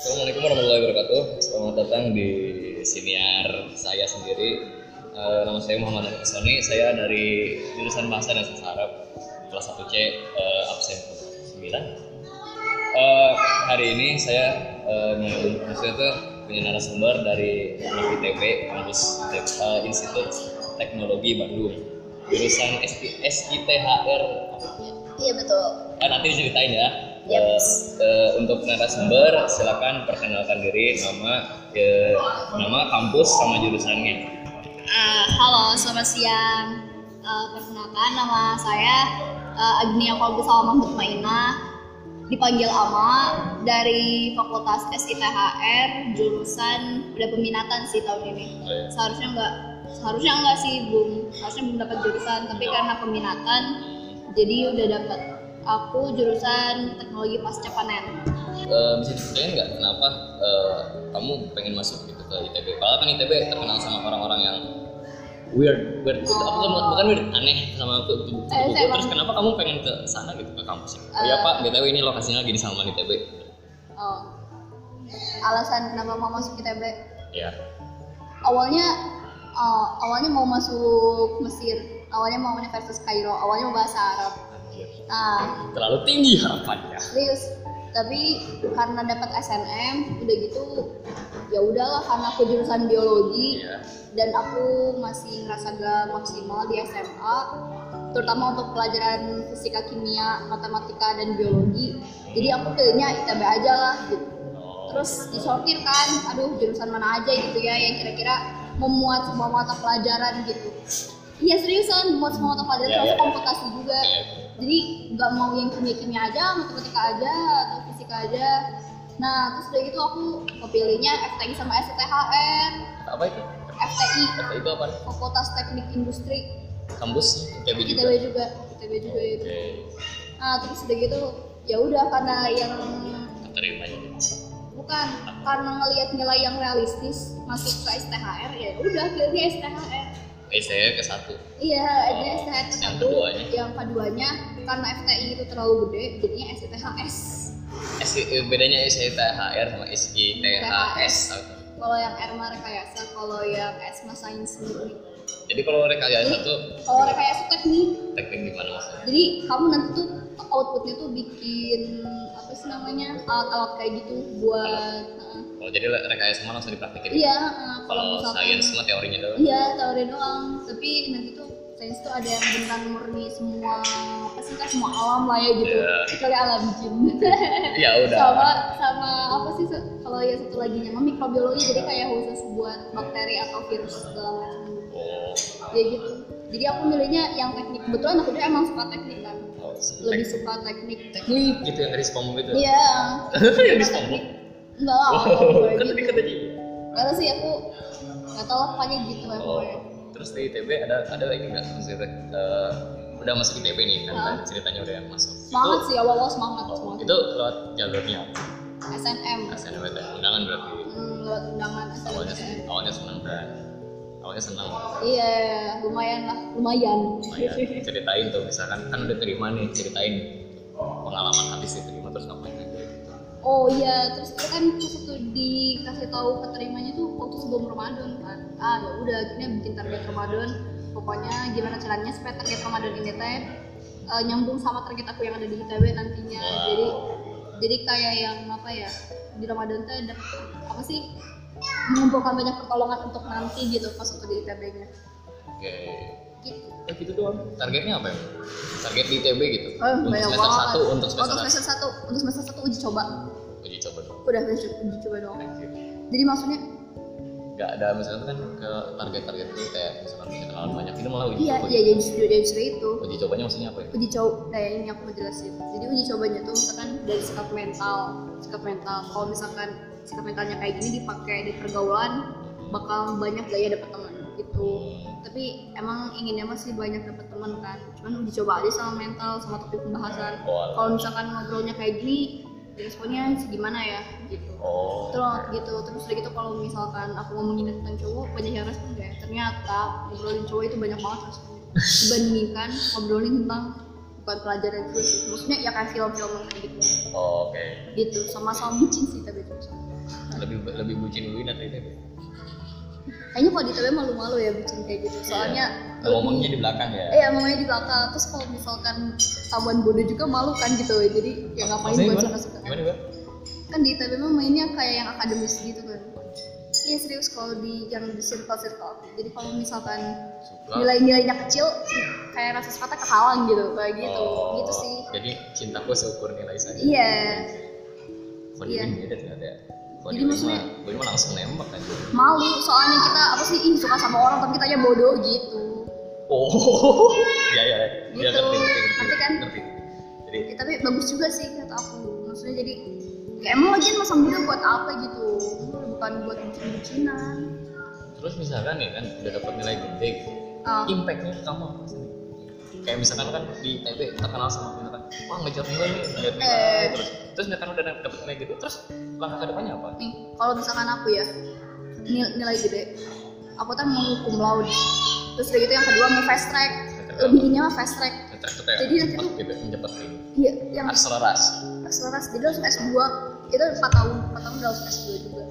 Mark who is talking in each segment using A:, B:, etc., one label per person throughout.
A: Assalamualaikum warahmatullahi wabarakatuh. Selamat datang di siniar saya sendiri. Eh, nama saya Muhammad Arif Sony. Saya dari jurusan Bahasa dan Sastra Arab kelas 1C eh, absen ke-9. Eh, hari ini saya eh, meng- maksudnya tuh punya narasumber dari anak ITB kampus eh, Institut Teknologi Bandung jurusan ST, SITHR apa?
B: Iya betul.
A: Eh, nanti diceritain ya.
B: Yep.
A: Eh, eh, untuk narasumber silakan perkenalkan diri nama eh, nama kampus sama jurusannya.
B: Eh, halo, selamat siang. Eh, perkenalkan nama saya eh, Agnia Kolbu Mahmud Maina, dipanggil Ama dari Fakultas SITHR jurusan udah peminatan sih tahun ini.
A: Oh, iya.
B: Seharusnya enggak seharusnya enggak sih belum harusnya belum dapat jurusan tapi karena peminatan jadi udah dapat aku jurusan teknologi pasca panen.
A: Eh, bisa diceritain nggak kenapa eh, kamu pengen masuk gitu ke ITB? Padahal kan ITB terkenal sama orang-orang yang weird, weird gitu. Apa bukan, bukan weird, aneh sama aku buku
B: Eh, saya
A: Terus
B: paham.
A: kenapa kamu pengen ke sana gitu ke kampus? Oh ya
B: Eh.
A: Pak, btw ini lokasinya lagi di Salman ITB.
B: Oh. Alasan kenapa mau masuk ITB?
A: Ya.
B: awalnya uh, awalnya mau masuk Mesir awalnya mau Universitas Kairo awalnya mau bahasa Arab nah
A: Terlalu tinggi harapannya.
B: serius tapi karena dapat SNM udah gitu ya udahlah karena aku jurusan biologi
A: Iya.
B: dan aku masih ngerasa gak maksimal di SMA terutama untuk pelajaran fisika kimia matematika dan biologi jadi aku pilihnya ITB aja lah gitu terus disortir kan aduh jurusan mana aja gitu ya yang kira-kira memuat semua mata pelajaran gitu iya seriusan memuat semua mata pelajaran
A: Iya, iya,
B: termasuk
A: iya.
B: komputasi juga
A: Iya.
B: jadi nggak mau yang kimia-kimia aja matematika aja atau fisika aja nah terus udah gitu aku kepilihnya FTI sama STHN
A: Apa itu?
B: FTI
A: Kata itu apa?
B: Fakultas Teknik Industri
A: Kampus ITB juga.
B: ITB juga ITB juga itu
A: Oke.
B: nah terus udah gitu ya udah karena yang
A: Keterima ya.
B: bukan karena ngelihat nilai yang realistis masuk ke STHR ya udah akhirnya STHR
A: Eh, saya ke satu.
B: iya akhirnya
A: Oh,
B: STHR ke
A: yang
B: satu
A: keduanya.
B: yang keduanya karena FTI itu terlalu gede jadinya STHS
A: S- eh, bedanya SITHR sama SITHS.
B: kalau yang R mah rekayasa kalau yang S mah sains murni
A: Jadi kalau rekayasa
B: Jadi,
A: tuh
B: kalau rekayasa teknik
A: teknik gimana maksudnya?
B: jadi kamu nanti tuh outputnya tuh bikin apa sih namanya alat-alat kayak gitu buat uh,
A: Kalau jadi le- rekayasa mah langsung dipraktikin.
B: iya uh,
A: Kalau
B: misalkan-
A: sains mah teorinya doang.
B: Iya, teori doang. Tapi nanti tuh sains tuh ada yang beneran murni semua apa sih kan semua alam lah ya gitu.
A: Iya.
B: Kecuali alam jin.
A: Ya
B: Iya, sama
A: udah.
B: sama apa sih se- kalau yang satu lagi nya mikrobiologi jadi kayak khusus buat bakteri atau virus segala macam.
A: Oh.
B: Ya gitu. Jadi aku milihnya yang teknik. Kebetulan aku tuh emang suka teknik kan.
A: Oh,
B: Lebih
A: tek-
B: suka teknik.
A: teknik gitu yang dari spam gitu.
B: Iya.
A: Yang di
B: Suka
A: spam.
B: teknik. Enggak lah.
A: Wow, kan
B: Kan
A: tadi katanya.
B: Karena sih aku nggak tahu lah pokoknya gitu ya
A: Oh.
B: pokoknya.
A: Terus di ITB ada ada lagi nggak maksudnya eh, udah masuk ITB nih kan
B: Hah?
A: tadi ceritanya udah masuk.
B: Semangat
A: Itu-
B: sih awal-awal semangat
A: Oh,
B: semangat.
A: itu lewat jalurnya apa?
B: SNM.
A: SNMPTN undangan berarti
B: Hmm, lewat undangan
A: awalnya
B: SNM.
A: awalnya senang kan awalnya senang
B: Iya, lumayan lah, lumayan.
A: lumayan ceritain tuh misalkan kan udah terima nih ceritain pengalaman habis diterima terus ngapain aja gitu
B: Oh iya, terus itu kan pas waktu dikasih tahu keterimanya tuh waktu sebelum Ramadan kan. Ah ya udah, akhirnya bikin target Ramadan. Pokoknya gimana caranya supaya target Ramadan ini teh eh, nyambung sama target aku yang ada di ITB nantinya.
A: Wow.
B: Jadi jadi kayak yang apa ya di Ramadan tuh ada apa sih mengumpulkan banyak pertolongan untuk nanti gitu pas waktu di ITB-nya.
A: oke
B: Gitu.
A: eh gitu doang targetnya apa ya target di ITB gitu
B: Eh,
A: untuk
B: banyak
A: semester
B: banget.
A: satu untuk semester
B: untuk semester satu untuk semester satu uji coba
A: satu uji coba dong
B: udah uji, uji coba doang
A: thank you
B: jadi maksudnya
A: nggak ada misalkan kan ke target-target itu kayak misalkan punya kenalan banyak itu malah uji coba
B: iya
A: ya?
B: iya jadi justru jadi justru itu
A: uji cobanya maksudnya apa ya
B: uji coba kayak ini aku mau jelasin jadi uji cobanya tuh misalkan dari sikap mental sikap mental kalau misalkan sikap mentalnya kayak gini dipakai di pergaulan bakal banyak gaya dapet teman gitu tapi emang inginnya masih banyak dapet teman kan cuman uji coba aja sama mental sama topik pembahasan
A: Wah.
B: kalau misalkan ngobrolnya kayak gini responnya gimana ya gitu
A: oh
B: Terus gitu, terus udah gitu kalau misalkan aku ngomongin tentang cowok banyak yang respon kayak ternyata ngobrolin cowok itu banyak banget responnya dibandingkan ngobrolin tentang bukan pelajaran juga sih maksudnya ya kayak film-film kayak gitu
A: Oh, oke
B: gitu sama sama bucin sih tapi itu
A: lebih lebih ya, bucin Uin atau ITB?
B: Kayaknya kalau di ITB malu-malu ya bucin kayak gitu. Soalnya
A: Iya. ngomongnya di belakang ya.
B: Eh, ya, ngomongnya di belakang. Terus kalau misalkan tahuan bodoh juga malu kan gitu. Jadi ya ngapain
A: Maksudnya
B: buat
A: gimana?
B: suka-suka.
A: Gimana Bang?
B: Kan di ITB mah mainnya kayak yang akademis gitu kan. Iya serius kalau di yang di circle-circle aku. Jadi kalau misalkan
A: Suka.
B: nilai-nilainya kecil kayak rasa sepatah kehalang gitu kayak gitu.
A: Oh,
B: Gitu sih.
A: Jadi cintaku seukur nilai saya.
B: Iya.
A: Kalau
B: iya.
A: Uin beda ternyata ya. Kalau di Uin
B: Jadi
A: mah,
B: maksudnya-
A: Uin mah langsung nembak kan.
B: Malu soalnya kita apa sih ih suka sama orang tapi kitanya bodoh gitu.
A: Oh, iya iya. Iya ngerti
B: Gitu.
A: ngerti ngerti.
B: Ngerti kan?
A: Ngerti. Jadi
B: Ya, tapi bagus juga sih kata aku maksudnya jadi kayak emang lagian masa muda buat apa gitu bukan buat bucin-bucinan
A: terus misalkan nih kan udah dapat nilai gede gitu.
B: Ah.
A: Impactnya ke kamu apa sih? Kayak misalkan kan di ITB terkenal sama misalkan, wah ngejar nilai nih, ngejar nilai
B: Eh.
A: terus terus misalkan udah dapet nilai gede, terus langkah kedepannya apa?
B: nih kalau misalkan aku ya nil- nilai gede aku tuh mau hukum laut terus udah gitu yang kedua mau fast track lebihnya mah fast track
A: Ngejar tuh kayak
B: Jadi nanti
A: cepat
B: tuh-
A: gitu, cepat gitu.
B: iya yang
A: Akselerasi
B: akselerasi jadi langsung S2 itu 4 tahun 4 tahun udah langsung S2 juga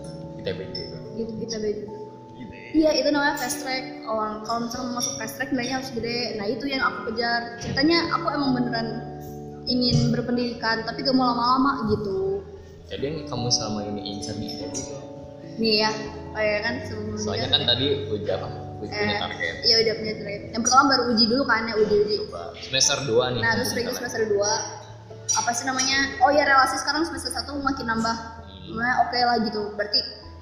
A: ITB gitu.
B: gitu ITB juga Iya itu namanya fast track. Orang kalau misalnya mau masuk fast track nilainya harus gede. Nah itu yang aku kejar. Ceritanya aku emang beneran ingin berpendidikan tapi gak mau lama-lama gitu.
A: Jadi yang kamu selama ini incer di ITB itu,
B: Nih ya, kayak kan sebelum
A: soalnya kan tadi udah apa? Punya target. Iya,
B: Iya udah punya target. Yang pertama baru uji dulu kan ya uji uji.
A: Coba semester 2 nih.
B: Nah terus
A: kamu
B: udah gitu
A: misalkan.
B: semester 2 apa sih namanya? Oh ya relasi sekarang semester 1 makin nambah.
A: Hmm.
B: Nah oke lah gitu. Berarti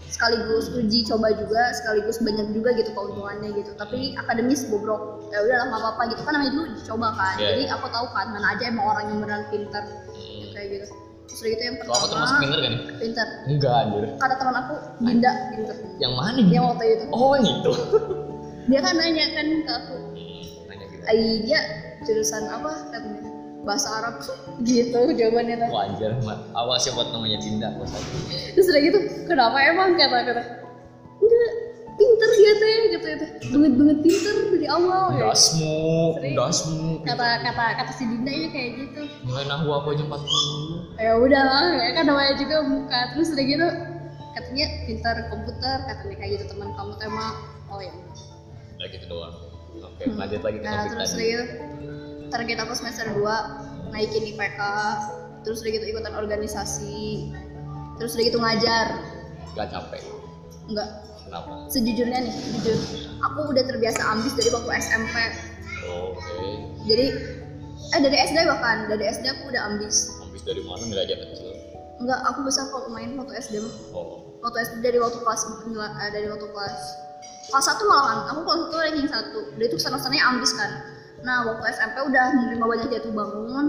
B: sekaligus uji coba juga sekaligus banyak juga gitu keuntungannya gitu tapi akademis bobrok ya udahlah nggak apa-apa gitu kan namanya dulu uji coba kan
A: Iya,
B: jadi
A: iya.
B: aku tahu kan mana aja emang orang yang beneran pinter
A: Hmm.
B: Ya, kayak gitu terus udah gitu yang
A: Kalau
B: pertama
A: aku termasuk pinter kan?
B: pinter
A: Enggak anjir.
B: kata teman aku Dinda pinter
A: Yang mana?
B: dia waktu itu
A: Oh yang itu.
B: dia kan nanya kan ke aku
A: Nanya gitu.
B: "Ai, Iya, dia jurusan apa katanya bahasa Arab gitu jawabannya tuh
A: Wajar, Mat. Awas ya buat namanya Dinda. Awas aja.
B: terus udah gitu kenapa emang kata kata enggak pinter dia teh gitu gitu banget banget pinter dari awal
A: Iya,
B: ya.
A: Dasmu,
B: Sering.
A: dasmu.
B: kata kata kata si Dinda ya kayak gitu
A: Nilai nahwu aku aja 40.
B: ya udah lah ya kan namanya juga muka terus udah gitu katanya pintar komputer katanya kayak gitu teman kamu tuh emang oh ya
A: Udah gitu doang. Oke, lanjut lagi ke
B: nah
A: topik
B: terus udah
A: tadi.
B: gitu target aku semester 2 naikin IPK terus udah gitu ikutan organisasi terus udah gitu ngajar
A: Gak capek.
B: enggak
A: Kenapa?
B: sejujurnya nih jujur aku udah terbiasa ambis dari waktu SMP
A: Oh, Oke.
B: jadi eh dari SD bahkan dari SD aku udah ambis
A: Habis dari mana nilai aja kecil?
B: enggak aku besar kalau main waktu SD mah.
A: Oh.
B: waktu SD dari waktu kelas penjela- eh, dari waktu kelas kelas satu malahan aku kelas satu ranking satu udah itu kesana sananya ambis kan nah waktu SMP udah menerima banyak jatuh bangun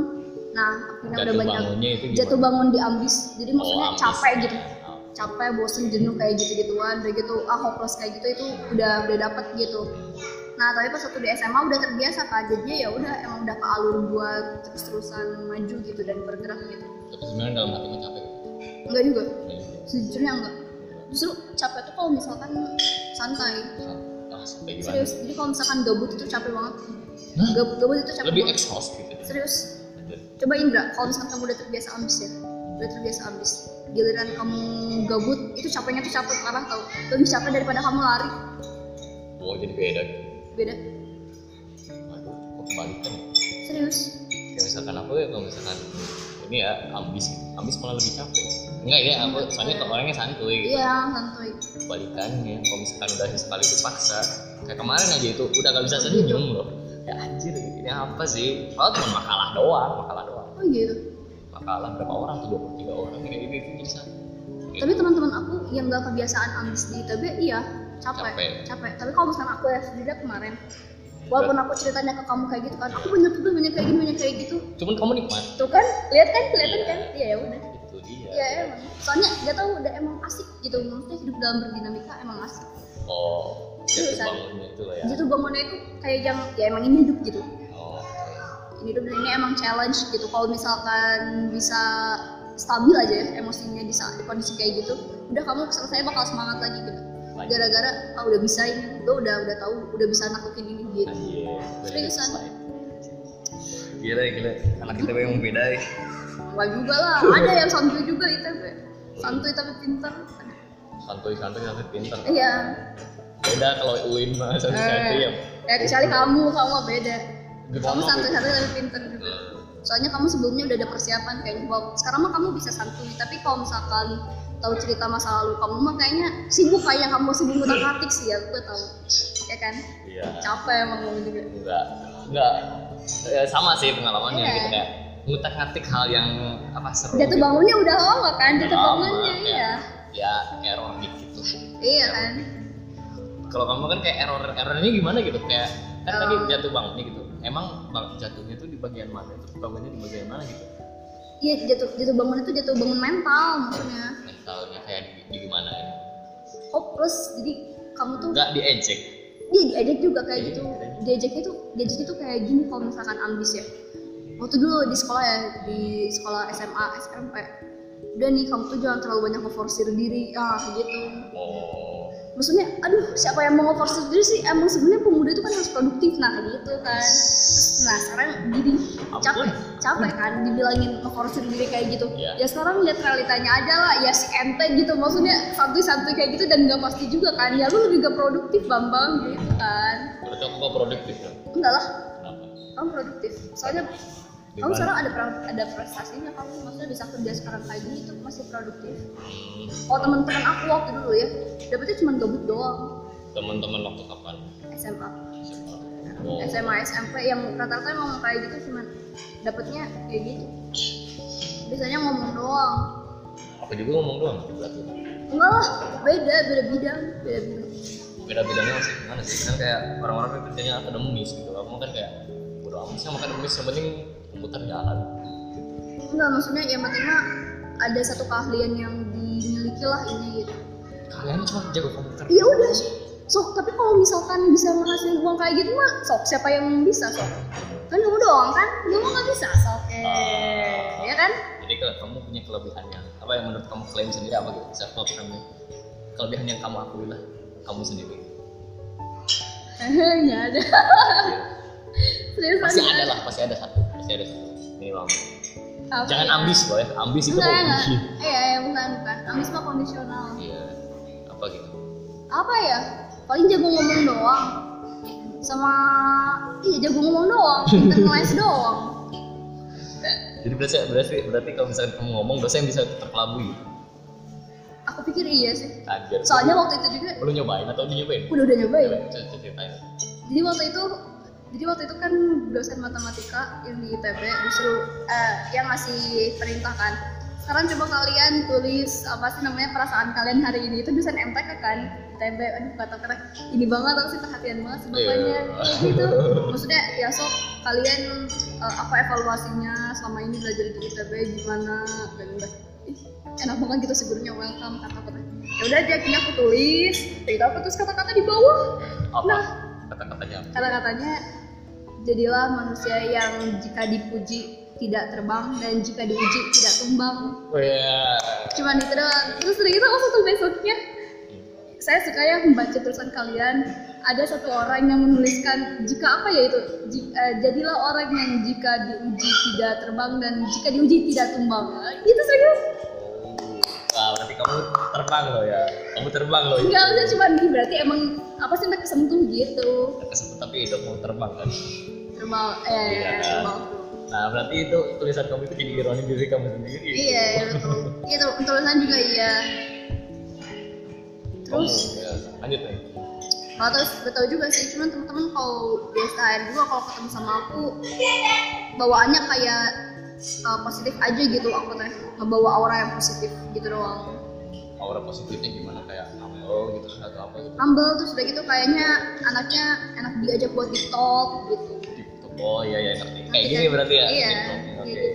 B: nah akhirnya
A: Jatuh
B: udah banyak
A: bangunnya itu gimana?
B: jatuh bangun di ambis jadi maksudnya
A: ambis.
B: capek gitu
A: Oh.
B: capek bosen jenuh kayak gitu gituan udah gitu ah hopeless kayak gitu itu udah udah dapet gitu nah tapi pas waktu di SMA udah terbiasa kan jadinya ya udah emang udah ke alur buat terus terusan maju gitu dan bergerak gitu
A: Tapi sebenarnya dalam hati mah capek.
B: enggak juga
A: Ini.
B: sejujurnya enggak justru capek tuh kalau misalkan santai
A: Ah, sampai gimana?
B: serius jadi kalau misalkan gabut itu capek banget
A: Hah?
B: Gab- gabut itu capek
A: Lebih
B: banget
A: exhaust gitu.
B: serius
A: Lanjut.
B: coba Indra kalau misalkan kamu udah terbiasa ambis ya udah terbiasa ambis giliran kamu gabut itu capeknya tuh capek parah tau lebih capek daripada kamu lari
A: Oh, jadi beda gitu.
B: beda
A: Aduh, kok kebalikan ya?
B: serius
A: kayak misalkan aku ya kalau misalkan ini ya ambis ambis malah lebih capek enggak ya aku soalnya kalau orangnya santuy gitu
B: iya santuy
A: kebalikannya kalau misalkan udah sekali dipaksa kayak kemarin aja itu udah gak bisa senyum loh ya anjir ini apa sih kalau cuma makalah doang makalah doang
B: oh gitu
A: makalah berapa orang tuh 23 orang kayak gitu itu bisa
B: tapi teman-teman aku yang nggak kebiasaan ambis di ITB iya capek
A: Capek.
B: capek, Iya. tapi kalau misalkan aku ya sendiri kemarin walaupun aku ceritanya ke kamu kayak gitu kan aku banyak tuh banyak kayak gini banyak kayak gitu
A: cuman kamu nikmat
B: tuh kan lihat kan kelihatan kan iya ya udah
A: itu dia
B: iya emang soalnya gak tau udah emang asik gitu maksudnya hidup dalam berdinamika emang asik
A: oh jatuh
B: Seriusan.
A: bangunnya itu lah ya
B: jadi tuh bangunnya itu kayak yang ya emang ini hidup gitu
A: oh
B: ini hidup dan ini emang challenge gitu kalau misalkan bisa stabil aja ya emosinya di saat di kondisi kayak gitu udah kamu selesai bakal semangat lagi gitu
A: Lanjut.
B: gara-gara ah udah bisa ini gue udah udah tahu udah bisa naklukin ini gitu
A: anjir Udah
B: Seriusan.
A: slide. gila gila Iya, anak kita memang beda ya
B: nggak juga lah ada yang santuy juga itu santuy tapi pinter
A: santuy santuy santuy pinter
B: iya Eh.
A: beda kalau uin mah santuy santuy ya
B: ya kecuali kamu kamu mah beda kamu
A: Gimana, Bu?
B: santuy santuy tapi pinter juga
A: Eh.
B: soalnya kamu sebelumnya udah ada persiapan kayaknya Wow, sekarang mah kamu bisa santuy tapi kalau misalkan tahu cerita masa lalu kamu mah kayaknya sibuk kayak yang kamu sibuk utak atik sih ya gue tahu ya kan
A: iya
B: capek emang kamu juga
A: enggak enggak Ya, sama sih pengalamannya
B: Iya.
A: gitu kayak ngutak ngatik hal yang apa seru
B: jatuh
A: gitu.
B: bangunnya udah lama kan
A: Udah
B: jatuh
A: lama,
B: bangunnya iya
A: kayak- ya error dikit lah
B: iya kan
A: kalau kamu kan kayak error errornya gimana gitu kayak kan tadi
B: Em.
A: jatuh bangunnya gitu emang bang jatuhnya tuh di bagian mana terus bangunnya di bagian mana gitu
B: iya jatuh jatuh bangun itu jatuh bangun mental maksudnya
A: mentalnya kayak di, di gimana ya
B: hopeless jadi kamu tuh
A: enggak diejek
B: dia diajak juga kayak
A: Iya,
B: gitu
A: diajak.
B: diajaknya tuh diajaknya tuh kayak gini kalau misalkan ambis ya waktu dulu di sekolah ya di sekolah SMA SMP udah nih kamu tuh jangan terlalu banyak ngeforsir diri ah gitu
A: oh
B: maksudnya aduh siapa yang mau ngeforsir diri sih emang sebenarnya pemuda itu kan harus produktif nah kayak gitu kan Terus, nah sekarang gini capek capek kan dibilangin ngeforsir diri kayak gitu
A: Iya.
B: ya sekarang lihat realitanya aja lah ya si ente gitu maksudnya santuy-santuy kayak gitu dan gak pasti juga kan ya lu lebih gak produktif bambang gitu kan
A: berarti aku gak produktif dong
B: enggak lah
A: kenapa
B: kamu produktif soalnya
A: Di
B: kamu
A: mana?
B: sekarang ada pra- ada prestasinya kamu maksudnya bisa kerja sekarang kayak gini itu masih produktif
A: Hmm,
B: kalau teman-teman aku waktu dulu ya dapetnya cuma gabut doang
A: teman-teman waktu kapan
B: SMA
A: SMA oh
B: SMA SMP yang ya, rata-rata emang kayak gitu cuman dapetnya kayak gitu biasanya ngomong doang
A: aku juga ngomong doang berarti
B: enggak lah beda beda bidang beda bidang
A: beda bidangnya masih gimana sih kan kayak orang-orang kan kerjanya akademis gitu kamu kan kayak bodo amat sih sama akademis yang penting komputer jalan
B: enggak maksudnya yang penting mah ada satu keahlian yang dimiliki lah ini gitu
A: kalian cuma jago komputer
B: ya udah sih sok tapi kalau misalkan bisa menghasilkan uang kayak gitu mah sok siapa yang bisa sok kan kamu doang kan kamu nggak bisa sok eh ya kan
A: jadi kalau kamu punya kelebihan yang apa yang menurut kamu klaim sendiri apa gitu self love kamu kelebihan yang kamu akui lah kamu sendiri
B: nggak ada serius
A: pasti Iya. ada lah pasti ada satu pasti ada satu minimal jangan
B: ya?
A: ambis boy ambis itu
B: Iya. enggak
A: hobi
B: enggak iya iya bukan bukan ambis mah kondisional
A: iya apa gitu
B: apa ya paling jago ngomong doang sama iya jago ngomong doang internalize doang
A: jadi berarti berarti berarti kalau misalkan kamu ngomong dosen bisa terkelabui
B: aku pikir iya sih
A: anjir
B: soalnya Iya. waktu itu juga
A: lu nyobain atau dia nyobain
B: udah udah nyobain
A: Coba- coba ceritain
B: jadi waktu itu jadi waktu itu kan dosen matematika yang di ITB disuruh eh, yang ngasih perintah kan sekarang coba kalian tulis apa sih namanya perasaan kalian hari ini itu dosen MTK kan ITB aduh kata kata ini banget aku sih perhatian banget sih bapaknya
A: Iya.
B: gitu maksudnya ya sok kalian eh, apa evaluasinya selama ini belajar di ITB gimana dan udah Ih, enak banget gitu sebelumnya welcome kata kata ya udah dia akhirnya aku tulis cerita aku terus kata kata di bawah
A: apa
B: Nah.
A: kata-katanya
B: Kata-katanya jadilah manusia yang jika dipuji tidak terbang dan jika diuji tidak tumbang.
A: oh iya
B: Cuman itu doang. Terus udah gitu langsung tuh besoknya saya suka ya membaca tulisan kalian. Ada satu orang yang menuliskan jika apa ya itu Ji- eh, jadilah orang yang jika diuji tidak terbang dan jika diuji tidak tumbang. Nah, Itu serius.
A: Wah, berarti kamu terbang loh ya kamu terbang loh
B: Enggak, maksudnya cuman "Ih, berarti emang apa sih sampai kesentuh gitu.
A: kesempatan tapi hidup kamu terbang kan
B: Terbang eh
A: Iya.
B: terbang.
A: nah berarti itu tulisan kamu itu jadi ironi diri kamu sendiri
B: Iya, iya betul. Iya, tul- tulisan juga iya.
A: terus
B: Terus,
A: ya, lanjut ya
B: kalau terus gue tau juga sih, cuman temen-temen kalau BSKN gue kalau ketemu sama aku bawaannya kayak uh, positif aja gitu aku teh ngebawa aura yang positif gitu doang
A: aura positifnya gimana kayak humble gitu atau apa gitu
B: humble terus udah gitu kayaknya anaknya enak diajak buat di talk gitu
A: Gitu. oh iya iya ngerti kayak
B: Nanti
A: gini
B: kan-
A: berarti ya
B: iya
A: Gitu.
B: kayak
A: oke
B: gitu.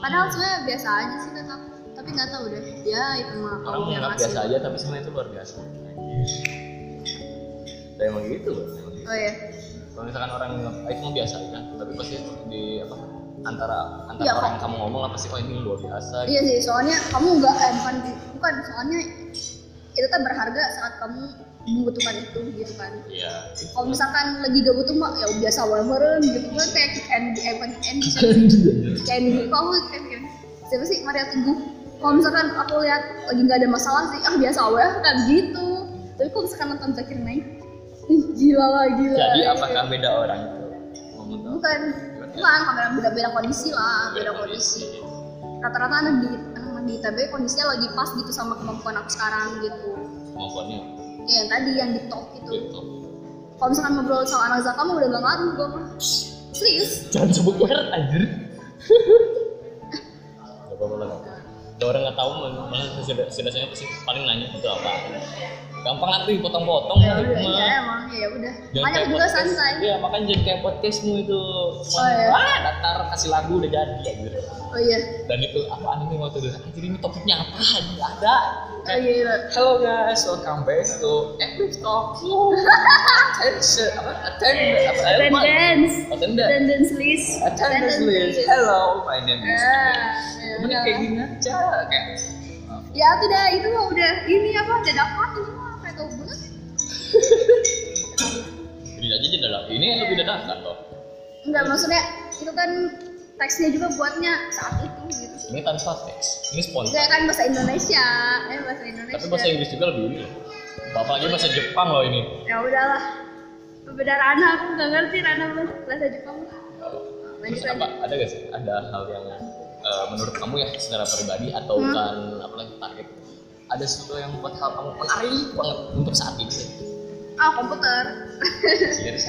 B: padahal sebenarnya biasa aja sih kata aku. tapi nggak tahu deh ya itu mah
A: orang
B: Allah yang
A: menganggap
B: ngasih.
A: biasa aja tapi sebenarnya itu luar biasa Tapi emang gitu loh emang gitu.
B: oh iya
A: kalau misalkan orang nganggap "Ah, itu mah biasa aja tapi pasti di apa antara antara
B: Iya,
A: orang
B: Pak.
A: yang kamu ngomong lah pasti oh ini luar biasa gitu.
B: Iya sih, soalnya kamu nggak eh, bukan bukan soalnya itu kan berharga saat kamu membutuhkan itu gitu kan.
A: iya gitu.
B: Kalau misalkan lagi gabut tuh mah ya biasa wae meureun gitu kan kayak gitu kick and eh bukan kick and kick and kamu kick and siapa sih kan. Maria Teguh kalau misalkan aku lihat lagi nggak ada masalah sih ah biasa aja kan gitu tapi kalau misalkan nonton Zakir naik ih, gila lah gila
A: Jadi
B: Gitu.
A: apakah beda orang itu? Ngomong tau.
B: bukan bukan kamera beda-beda kondisi lah Ah, beda kondisi rata-rata anak di anak di ITB kondisinya lagi pas gitu sama kemampuan aku sekarang gitu
A: Kemampuannya
B: ya yang tadi yang di talk gitu
A: gitu.
B: kalau misalkan ngobrol sama anak Zaka mah udah gak ngaruh gue mah serius
A: Jangan sebut merek anjir. Gak apa-apa lah. Ada orang nggak tahu malah sudah sudah saya pasti paling nanya itu apa. Gampang nanti potong-potong
B: ya
A: lah itu
B: udah ya
A: mah.
B: emang ya udah
A: Jangan kayak
B: makanya aku juga
A: podcast.
B: santai
A: Iya, makanya jadi kayak podcastmu itu.
B: Oh, iya.
A: Wah, datar kasih lagu udah jadi anjir.
B: oh iya
A: Dan itu apaan ini waktu itu? Anjir ini topiknya apa? Anjir ada.
B: oh iya iya.
A: Hello guys, welcome back to Epic Talk. Attention, apa? Attend, apa?
B: attendance
A: Attendance.
B: attendance list
A: Attendance list. Hello, my name is.
B: Ah, ya
A: Ini
B: udah.
A: kayak gini aja, kayak.
B: ya itu dah itu mah udah ini apa dadakan itu mah kayak tau banget
A: Ini aja jendela. Ini lebih dadakan loh.
B: enggak
A: Iya.
B: maksudnya itu kan teksnya juga buatnya saat itu gitu
A: Ini tanpa teks. Ini
B: Enggak
A: spontan.
B: kan bahasa Indonesia, eh bahasa Indonesia.
A: Tapi bahasa Inggris juga lebih ini. Apalagi bahasa Jepang loh ini.
B: Ya udahlah. Beda Rana aku nggak ngerti Rana bahasa Jepang. Lanjut
A: Terus apa?
B: lanjut.
A: Ada gak sih? Ada hal yang eh, menurut kamu ya secara pribadi atau
B: Hmm.
A: bukan apa lagi target? Ada sesuatu yang buat hal kamu menarik banget untuk saat ini. Iya
B: Ah komputer.
A: Cheers.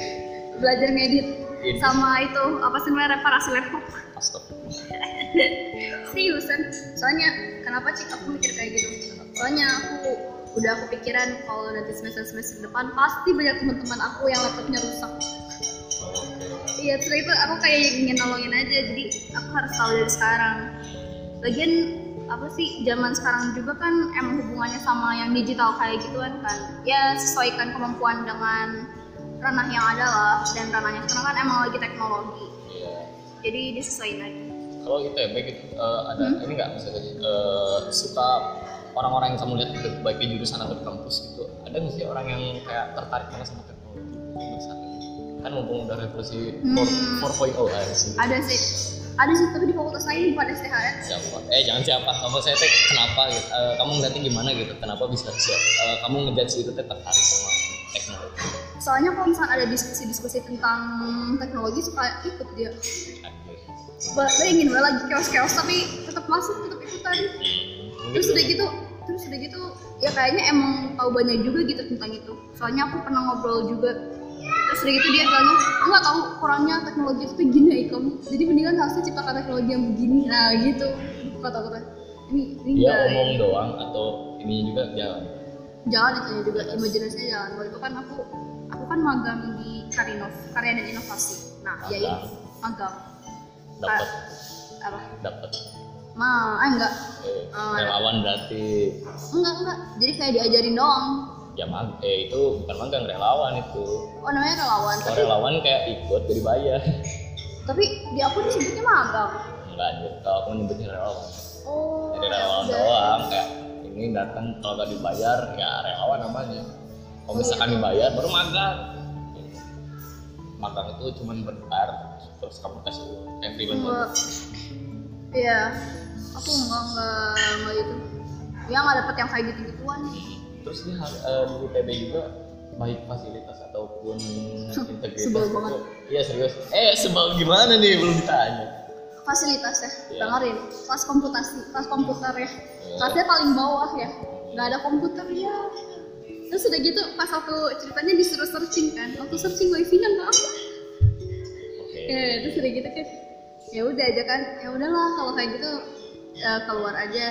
B: Belajar ngedit
A: Ini.
B: sama itu apa sih namanya reparasi laptop.
A: Astagfirullah.
B: Seriusan. Soalnya kenapa cik aku mikir kayak gitu? Soalnya aku udah kepikiran kalau nanti semester semester depan pasti banyak teman-teman aku yang laptopnya rusak. Iya, setelah itu aku kayak ingin nolongin aja, jadi aku harus tahu dari sekarang. Lagian apa sih zaman sekarang juga kan emang hubungannya sama yang digital kayak gituan kan. Ya sesuaikan kemampuan dengan ranah yang ada lah dan ranahnya sekarang kan emang lagi teknologi.
A: Iya.
B: Jadi disesuaikan aja.
A: Kalau ITB gitu eh, ada
B: Hmm.
A: ini nggak misalnya eh, suka orang-orang yang kamu lihat gitu, baik di jurusan atau di kampus gitu, ada nggak sih orang yang kayak tertarik banget sama teknologi yang saat ini? Kan mumpung udah revolusi
B: Hmm.
A: 4- 4.0 kan sih.
B: Ada sih, ada sih tapi di fakultas lain bukan STHN.
A: siapa eh jangan siapa kamu saya teh kenapa gitu Eh, kamu ngeliatnya gimana gitu kenapa bisa sih eh, kamu ngejudge itu teh tertarik sama teknologi
B: Soalnya kalau misalnya ada diskusi-diskusi tentang teknologi suka ikut dia.
A: Anjir.
B: Ba- Bayangin gue lagi chaos-chaos tapi tetap masuk, tetap ikutan.
A: Mungkin
B: terus udah
A: dulu-
B: gitu terus udah gitu ya kayaknya emang tahu banyak juga gitu tentang itu soalnya aku pernah ngobrol juga terus udah gitu dia bilangnya nggak tahu kurangnya teknologi itu tuh gini ya kamu jadi mendingan harusnya ciptakan teknologi yang begini nah gitu kata-kata ini ini
A: dia
B: enggak
A: omong doang atau ininya juga ya, jalan
B: jalan itu juga imajinasinya jalan waktu itu kan aku aku kan magang di Karinov karya dan inovasi nah ya
A: Magang.
B: itu magang
A: dapat
B: Ah. Ka- apa
A: dapat
B: ma ah enggak
A: eh,
B: Oh,
A: relawan berarti
B: enggak enggak jadi kayak diajarin doang
A: ya mag eh itu bukan magang relawan itu
B: oh namanya relawan
A: kalau
B: tapi
A: relawan kayak ikut jadi bayar
B: tapi di aku disebutnya magang
A: enggak anjir kalau aku nyebutnya relawan
B: Oh.
A: jadi relawan
B: ya udah.
A: doang kayak ini datang kalau gak dibayar ya relawan namanya kalau
B: Oh,
A: misalkan
B: gitu.
A: dibayar baru magang magang itu cuman bentar terus kamu tes dulu eh, kayak freelance
B: Enggak. Iya. Aku enggak enggak enggak gitu. Ya enggak dapet yang kayak gitu-gituan.
A: terus di, hal- eh, di ITB juga baik fasilitas ataupun integritas
B: sebel
A: itu-
B: banget.
A: iya serius eh sebel gimana nih belum ditanya
B: Fasilitas ya,
A: Iya.
B: dengerin. Kelas komputasi, kelas komputer ya. Kelasnya paling bawah ya. Enggak ada komputer ya. Terus udah gitu pas aku ceritanya disuruh searching kan. Waktu searching wifi-nya enggak apa.
A: oke
B: Ya, terus udah gitu kan ya udah aja kan ya udahlah kalau kayak gitu ya keluar aja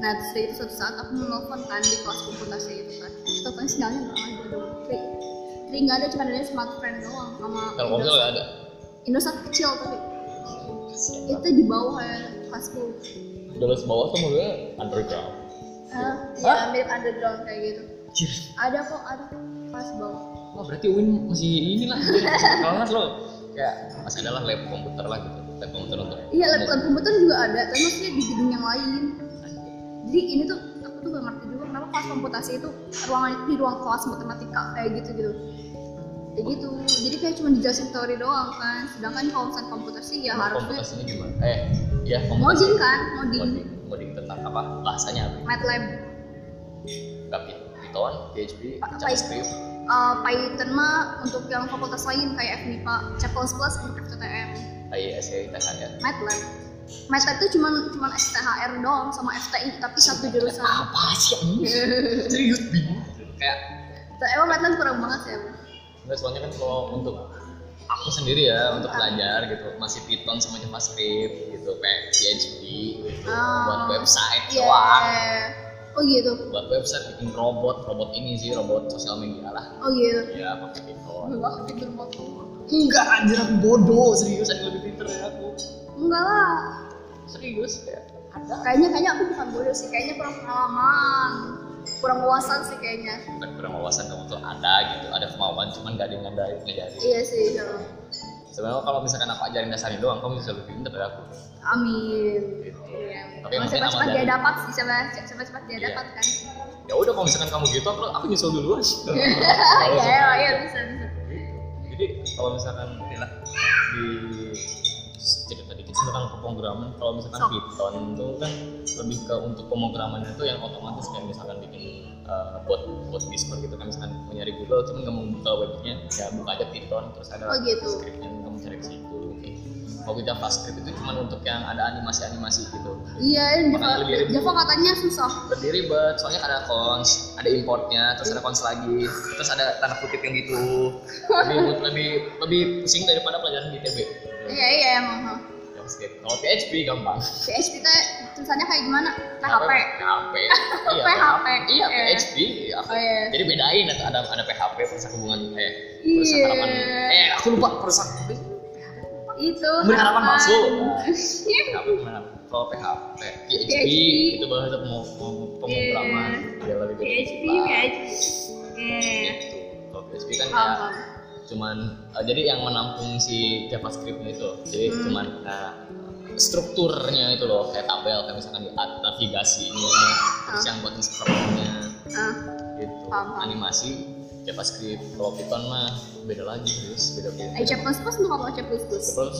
B: nah terus dari itu suatu saat aku menelpon kan di kelas komputasi itu kan totalnya sinyalnya nggak ada dong tri tri nggak ada cuma ada smartphone doang sama
A: telkomsel nggak ada
B: Indosat kecil tapi
A: Kasian
B: itu di bawah ya, kelas 10
A: banget. jelas bawah tuh maksudnya underground
B: Hah?
A: Hah?
B: ya mirip underground kayak gitu ada kok ada kelas bawah
A: Wah Oh, berarti Uin masih inilah kelas lo kayak masih adalah lab komputer lah gitu lab komputer untuk
B: Iya, lab lab komputer juga ada, tapi maksudnya di gedung yang lain. Jadi ini tuh aku tuh gak ngerti juga kenapa kelas komputasi itu ruangan di ruang kelas matematika kayak gitu gitu. Kayak gitu. Jadi kayak cuma dijelasin teori doang
A: Nah,
B: kan. Sedangkan kalau misalnya komputer sih ya harusnya
A: komputasinya gimana eh ya komputer
B: modding kan, modding.
A: Modding. coding tentang apa bahasanya apa
B: MATLAB
A: nggak Py- Python PHP
B: Pa-
A: JavaScript
B: Eh, Python mah untuk yang fakultas lain kayak FMIPA C++ untuk FTTM
A: IESE THR
B: MATLAB MATLAB itu cuman cuman STHR doang sama FTI tapi satu jurusan
A: apa sih ini serius bingung kayak
B: emang MATLAB kurang banget sih emang.
A: enggak soalnya kan kalau untuk aku sendiri ya
B: Ah.
A: untuk belajar gitu masih Python sama JavaScript gitu kayak PHP gitu
B: Ah.
A: buat website
B: Iya.
A: doang
B: oh gitu
A: buat website bikin robot robot ini sih robot sosial media lah
B: oh gitu
A: ya pakai Python
B: Wah, pinter banget.
A: enggak anjir aku bodoh serius ada yang lebih pinter dari aku
B: enggak lah
A: serius ya ada
B: kayaknya kayaknya aku bukan bodoh sih kayaknya kurang pengalaman kurang wawasan sih kayaknya
A: bukan kurang wawasan kamu tuh ada gitu ada kemauan cuman gak ada yang ngadain ngejadi
B: iya sih ya.
A: sebenarnya kalau misalkan aku ajarin dasarnya doang kamu bisa lebih pinter dari aku
B: amin
A: Gitu.
B: Iya.
A: Tapi yang penting
B: Emang cepat-cepat
A: aman
B: dia
A: dari-
B: dapat sih cepat- cepat-cepat dia
A: Iya.
B: dapat kan
A: ya udah kalau misalkan kamu gitu aku, aku nyusul duluan Oh, iya.
B: ya ya ya bisa bisa
A: jadi kalau misalkan lah di cerita dikit sih tentang pemrograman kalau misalkan
B: Sok.
A: Python itu kan lebih ke untuk pemrograman itu yang otomatis kayak misalkan bikin uh, bot bot Discord gitu kan misalkan mau nyari Google cuman nggak mau buka webnya ya buka aja Python terus ada
B: Oh, gitu.
A: script yang kamu cari ke situ oke kalau kita JavaScript itu cuman untuk yang ada animasi-animasi gitu
B: iya
A: Makanya
B: Java
A: lebih ribet.
B: Java katanya susah
A: berdiri ribet soalnya ada cons ada importnya terus ada cons lagi terus ada tanda kutip yang gitu lebih lebih lebih pusing daripada pelajaran di ITB
B: iya iya emang
A: JavaScript kalau PHP gampang
B: PHP kita tulisannya kayak gimana Nah, PHP
A: PHP iya
B: PHP.
A: iya
B: Iya.
A: PHP iya.
B: Oh, iya.
A: jadi bedain ada ada, ada PHP perusak hubungan eh perusak
B: Iya.
A: harapan eh aku lupa perusak
B: itu
A: Berharapan palsu.
B: Iya.
A: PHP gimana kalau PHP PHP
B: PHP.
A: itu bahasa pem- pem- pemrograman Dia lebih
B: PHP
A: berkembang.
B: PHP eh
A: gitu kalau PHP kan
B: paham
A: kayak
B: paham.
A: cuman eh, jadi yang menampung si JavaScript itu jadi
B: Hmm.
A: cuman eh, strukturnya itu loh kayak tabel kayak misalkan di at- navigasinya terus
B: Ah.
A: yang buat scrollnya
B: ah
A: gitu
B: Paham, paham.
A: animasi JavaScript kalau Python mah beda lagi terus beda beda
B: eh C++ untuk apa C++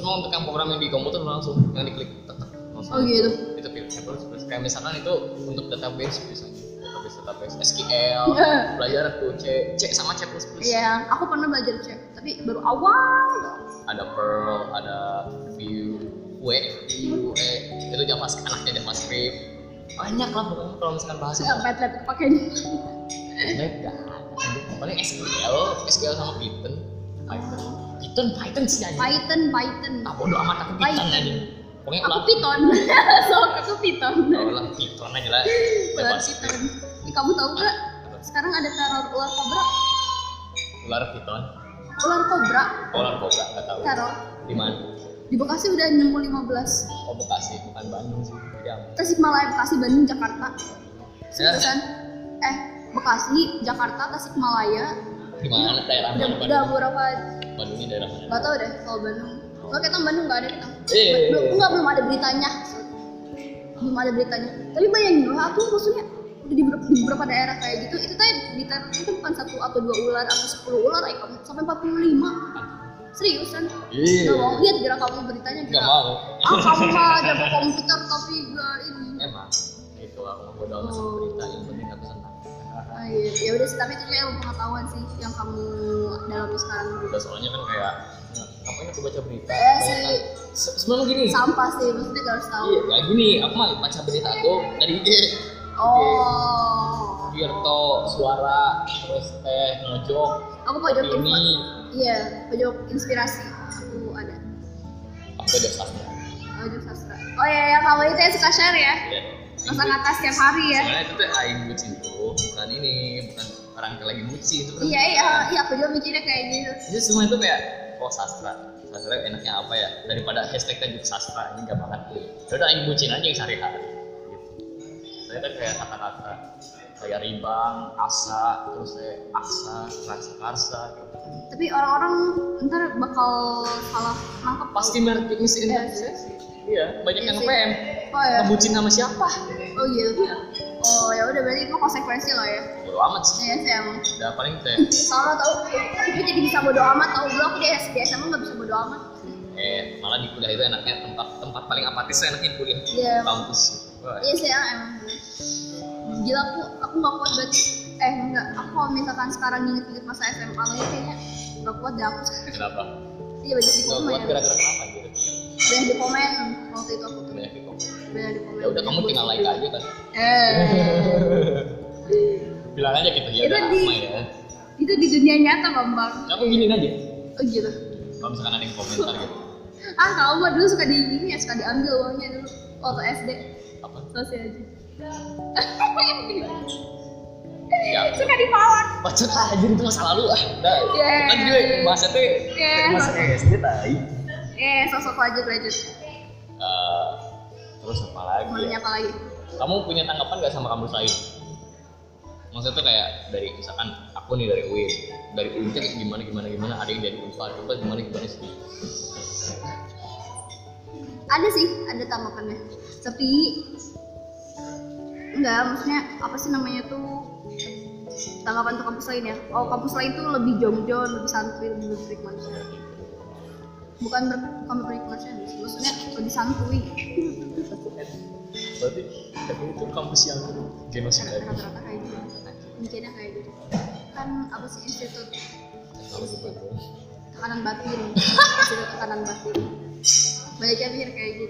A: semua untuk yang programming di komputer langsung yang diklik tek, tek, langsung
B: oh gitu
A: itu pilih terus kayak misalkan itu untuk database biasanya database database SQL belajar tuh C C sama C++
B: Iya, aku pernah belajar C, tapi baru awal. doang.
A: ada Perl, ada Vue, Vue, Vue, E. itu JavaScript, anaknya JavaScript. Banyak lah pokoknya kalau misalkan bahasa
B: Saya nggak MATLAB pakainya.
A: Mac gak ada. Paling SQL, SQL sama Python. Python, Python, Python sih aja.
B: Python, Python.
A: Ah bodo amat aku Python
B: Python.
A: aja. Pokoknya
B: Aku
A: ulah
B: Python. so, aku Python.
A: ulah Python aja lah.
B: Ular
A: Bebas.
B: Python. Eh, kamu tahu nggak? Sekarang ada teror ular kobra.
A: Ular Python,
B: Ular kobra,
A: ular kobra nggak tahu.
B: teror.
A: Di mana?
B: Di Bekasi udah nemu 15.
A: Oh Bekasi, bukan Bandung sih. Jam.
B: Tasikmalaya, Bekasi, Bandung, Jakarta.
A: Ya.
B: Seriusan? Eh, Bekasi, Jakarta, Tasikmalaya.
A: Di mana daerah
B: Udah,
A: mana
B: udah
A: Bandung?
B: berapa?
A: Bandungnya daerah mana?
B: Gak tau deh kalau Bandung. Kalau kita Bandung nggak ada kita.
A: Eh.
B: Belum, enggak belum ada beritanya. Belum ada beritanya. Tapi bayangin lah aku maksudnya udah di, ber- di beberapa daerah kayak gitu itu tadi di teror itu bukan satu atau dua ular atau sepuluh ular eh, kamu sampai 45 seriusan
A: Iya.
B: kan? nggak mau lihat gerak kamu beritanya
A: Gak
B: gerak
A: mau.
B: ah kamu mah jago komputer tapi gak ini
A: emang itu aku mau bodo amat sama berita yang penting aku senang
B: ah, iya. ya udah sih tapi itu juga ilmu pengetahuan sih yang kamu dalami sekarang
A: udah soalnya kan kayak ngapain aku baca berita
B: Eh,
A: Banyak
B: sih.
A: kan- Se- sebenarnya gini
B: sampah sih maksudnya gak harus tahu
A: iya ya gini aku mah baca berita aku dari IG
B: oh
A: Virto suara terus teh mojok
B: aku pojok info
A: ini
B: iya pojok inspirasi aku ada
A: aku ada sastra
B: pojok sastra oh iya ya kamu itu yang suka share ya
A: Iya.
B: masa kata setiap hari ya
A: sebenarnya itu teh aing bucin itu bukan ini bukan orang yang lagi bucin itu kan
B: iya iya iya aku juga mikirnya kayak gitu
A: jadi semua itu kayak oh sastra sastra enaknya apa ya daripada hashtag tajuk sastra ini gak banget nih Ya udah yang bucin aja yang sehari-hari gitu saya kan kayak kata-kata kayak ribang asa terus saya aksa karsa karsa gitu.
B: tapi orang-orang ntar bakal salah nangkep
A: pasti Iya ngerti misinterpretasi iya banyak yang PM
B: oh ya
A: ngebucin sama siapa
B: oh gitu oh ya udah berarti itu konsekuensi loh ya
A: bodo amat sih
B: iya sih emang
A: udah paling kayak
B: Soalnya tau, aku jadi bisa bodo amat tau dulu aku di SD SMA nggak bisa bodo amat
A: eh malah di kuliah itu enaknya tempat tempat paling apatis tuh enaknya di kuliah
B: Iya,
A: kampus Wah,
B: Iya saya emang gila aku aku nggak kuat banget. Eh enggak, aku kalau misalkan sekarang inget-inget masa SMA lagi kayaknya nggak kuat deh aku.
A: Kenapa?
B: Iya banyak di
A: Gak
B: komen.
A: kuat kira-kira kenapa gitu?
B: Banyak di komen waktu itu aku tuh.
A: Banyak di komen.
B: Banyak di komen.
A: Ya udah kamu tinggal like aja kan.
B: Eh,
A: Bilang aja gitu ya
B: Itu
A: udah
B: di-
A: lama ya.
B: itu di dunia nyata bambang.
A: Kamu gini aja.
B: Oh gitu.
A: Kalau misalkan ada yang komentar gitu.
B: Ah kamu mah dulu suka di gini ya, suka diambil uangnya dulu waktu SD.
A: Apa?
B: Selesai aja.
A: Ya.
B: suka dipawan.
A: Pacut ah anjir itu masa lalu ah. Dah.
B: Iya.
A: Kan gue bahasa teh
B: Iya.
A: masa SD tai.
B: Eh, sosok lanjut lanjut.
A: Eh, terus apa lagi
B: Mau
A: ya?
B: nanya apa lagi?
A: Kamu punya tanggapan gak sama kampus lain? Maksudnya tuh kayak dari misalkan aku nih dari UIN, dari UIN tuh kayak gimana gimana gimana ada yang dari Unpad, Unpad gimana gimana sih?
B: Ada sih, ada tanggapannya. Tapi enggak, maksudnya apa sih namanya tuh tanggapan untuk kampus lain ya? Oh, kampus lain tuh lebih jongjon, lebih santuy, lebih berfrekuensi. Bukan ber, bukan berfrekuensi, maksudnya lebih santuy
A: Berarti tapi itu kampus yang genosida.
B: rata-rata kayak gitu. Mikirnya kayak gitu. Kan apa sih institut tekanan batin Institut tekanan batin banyak yang mikir kayak gitu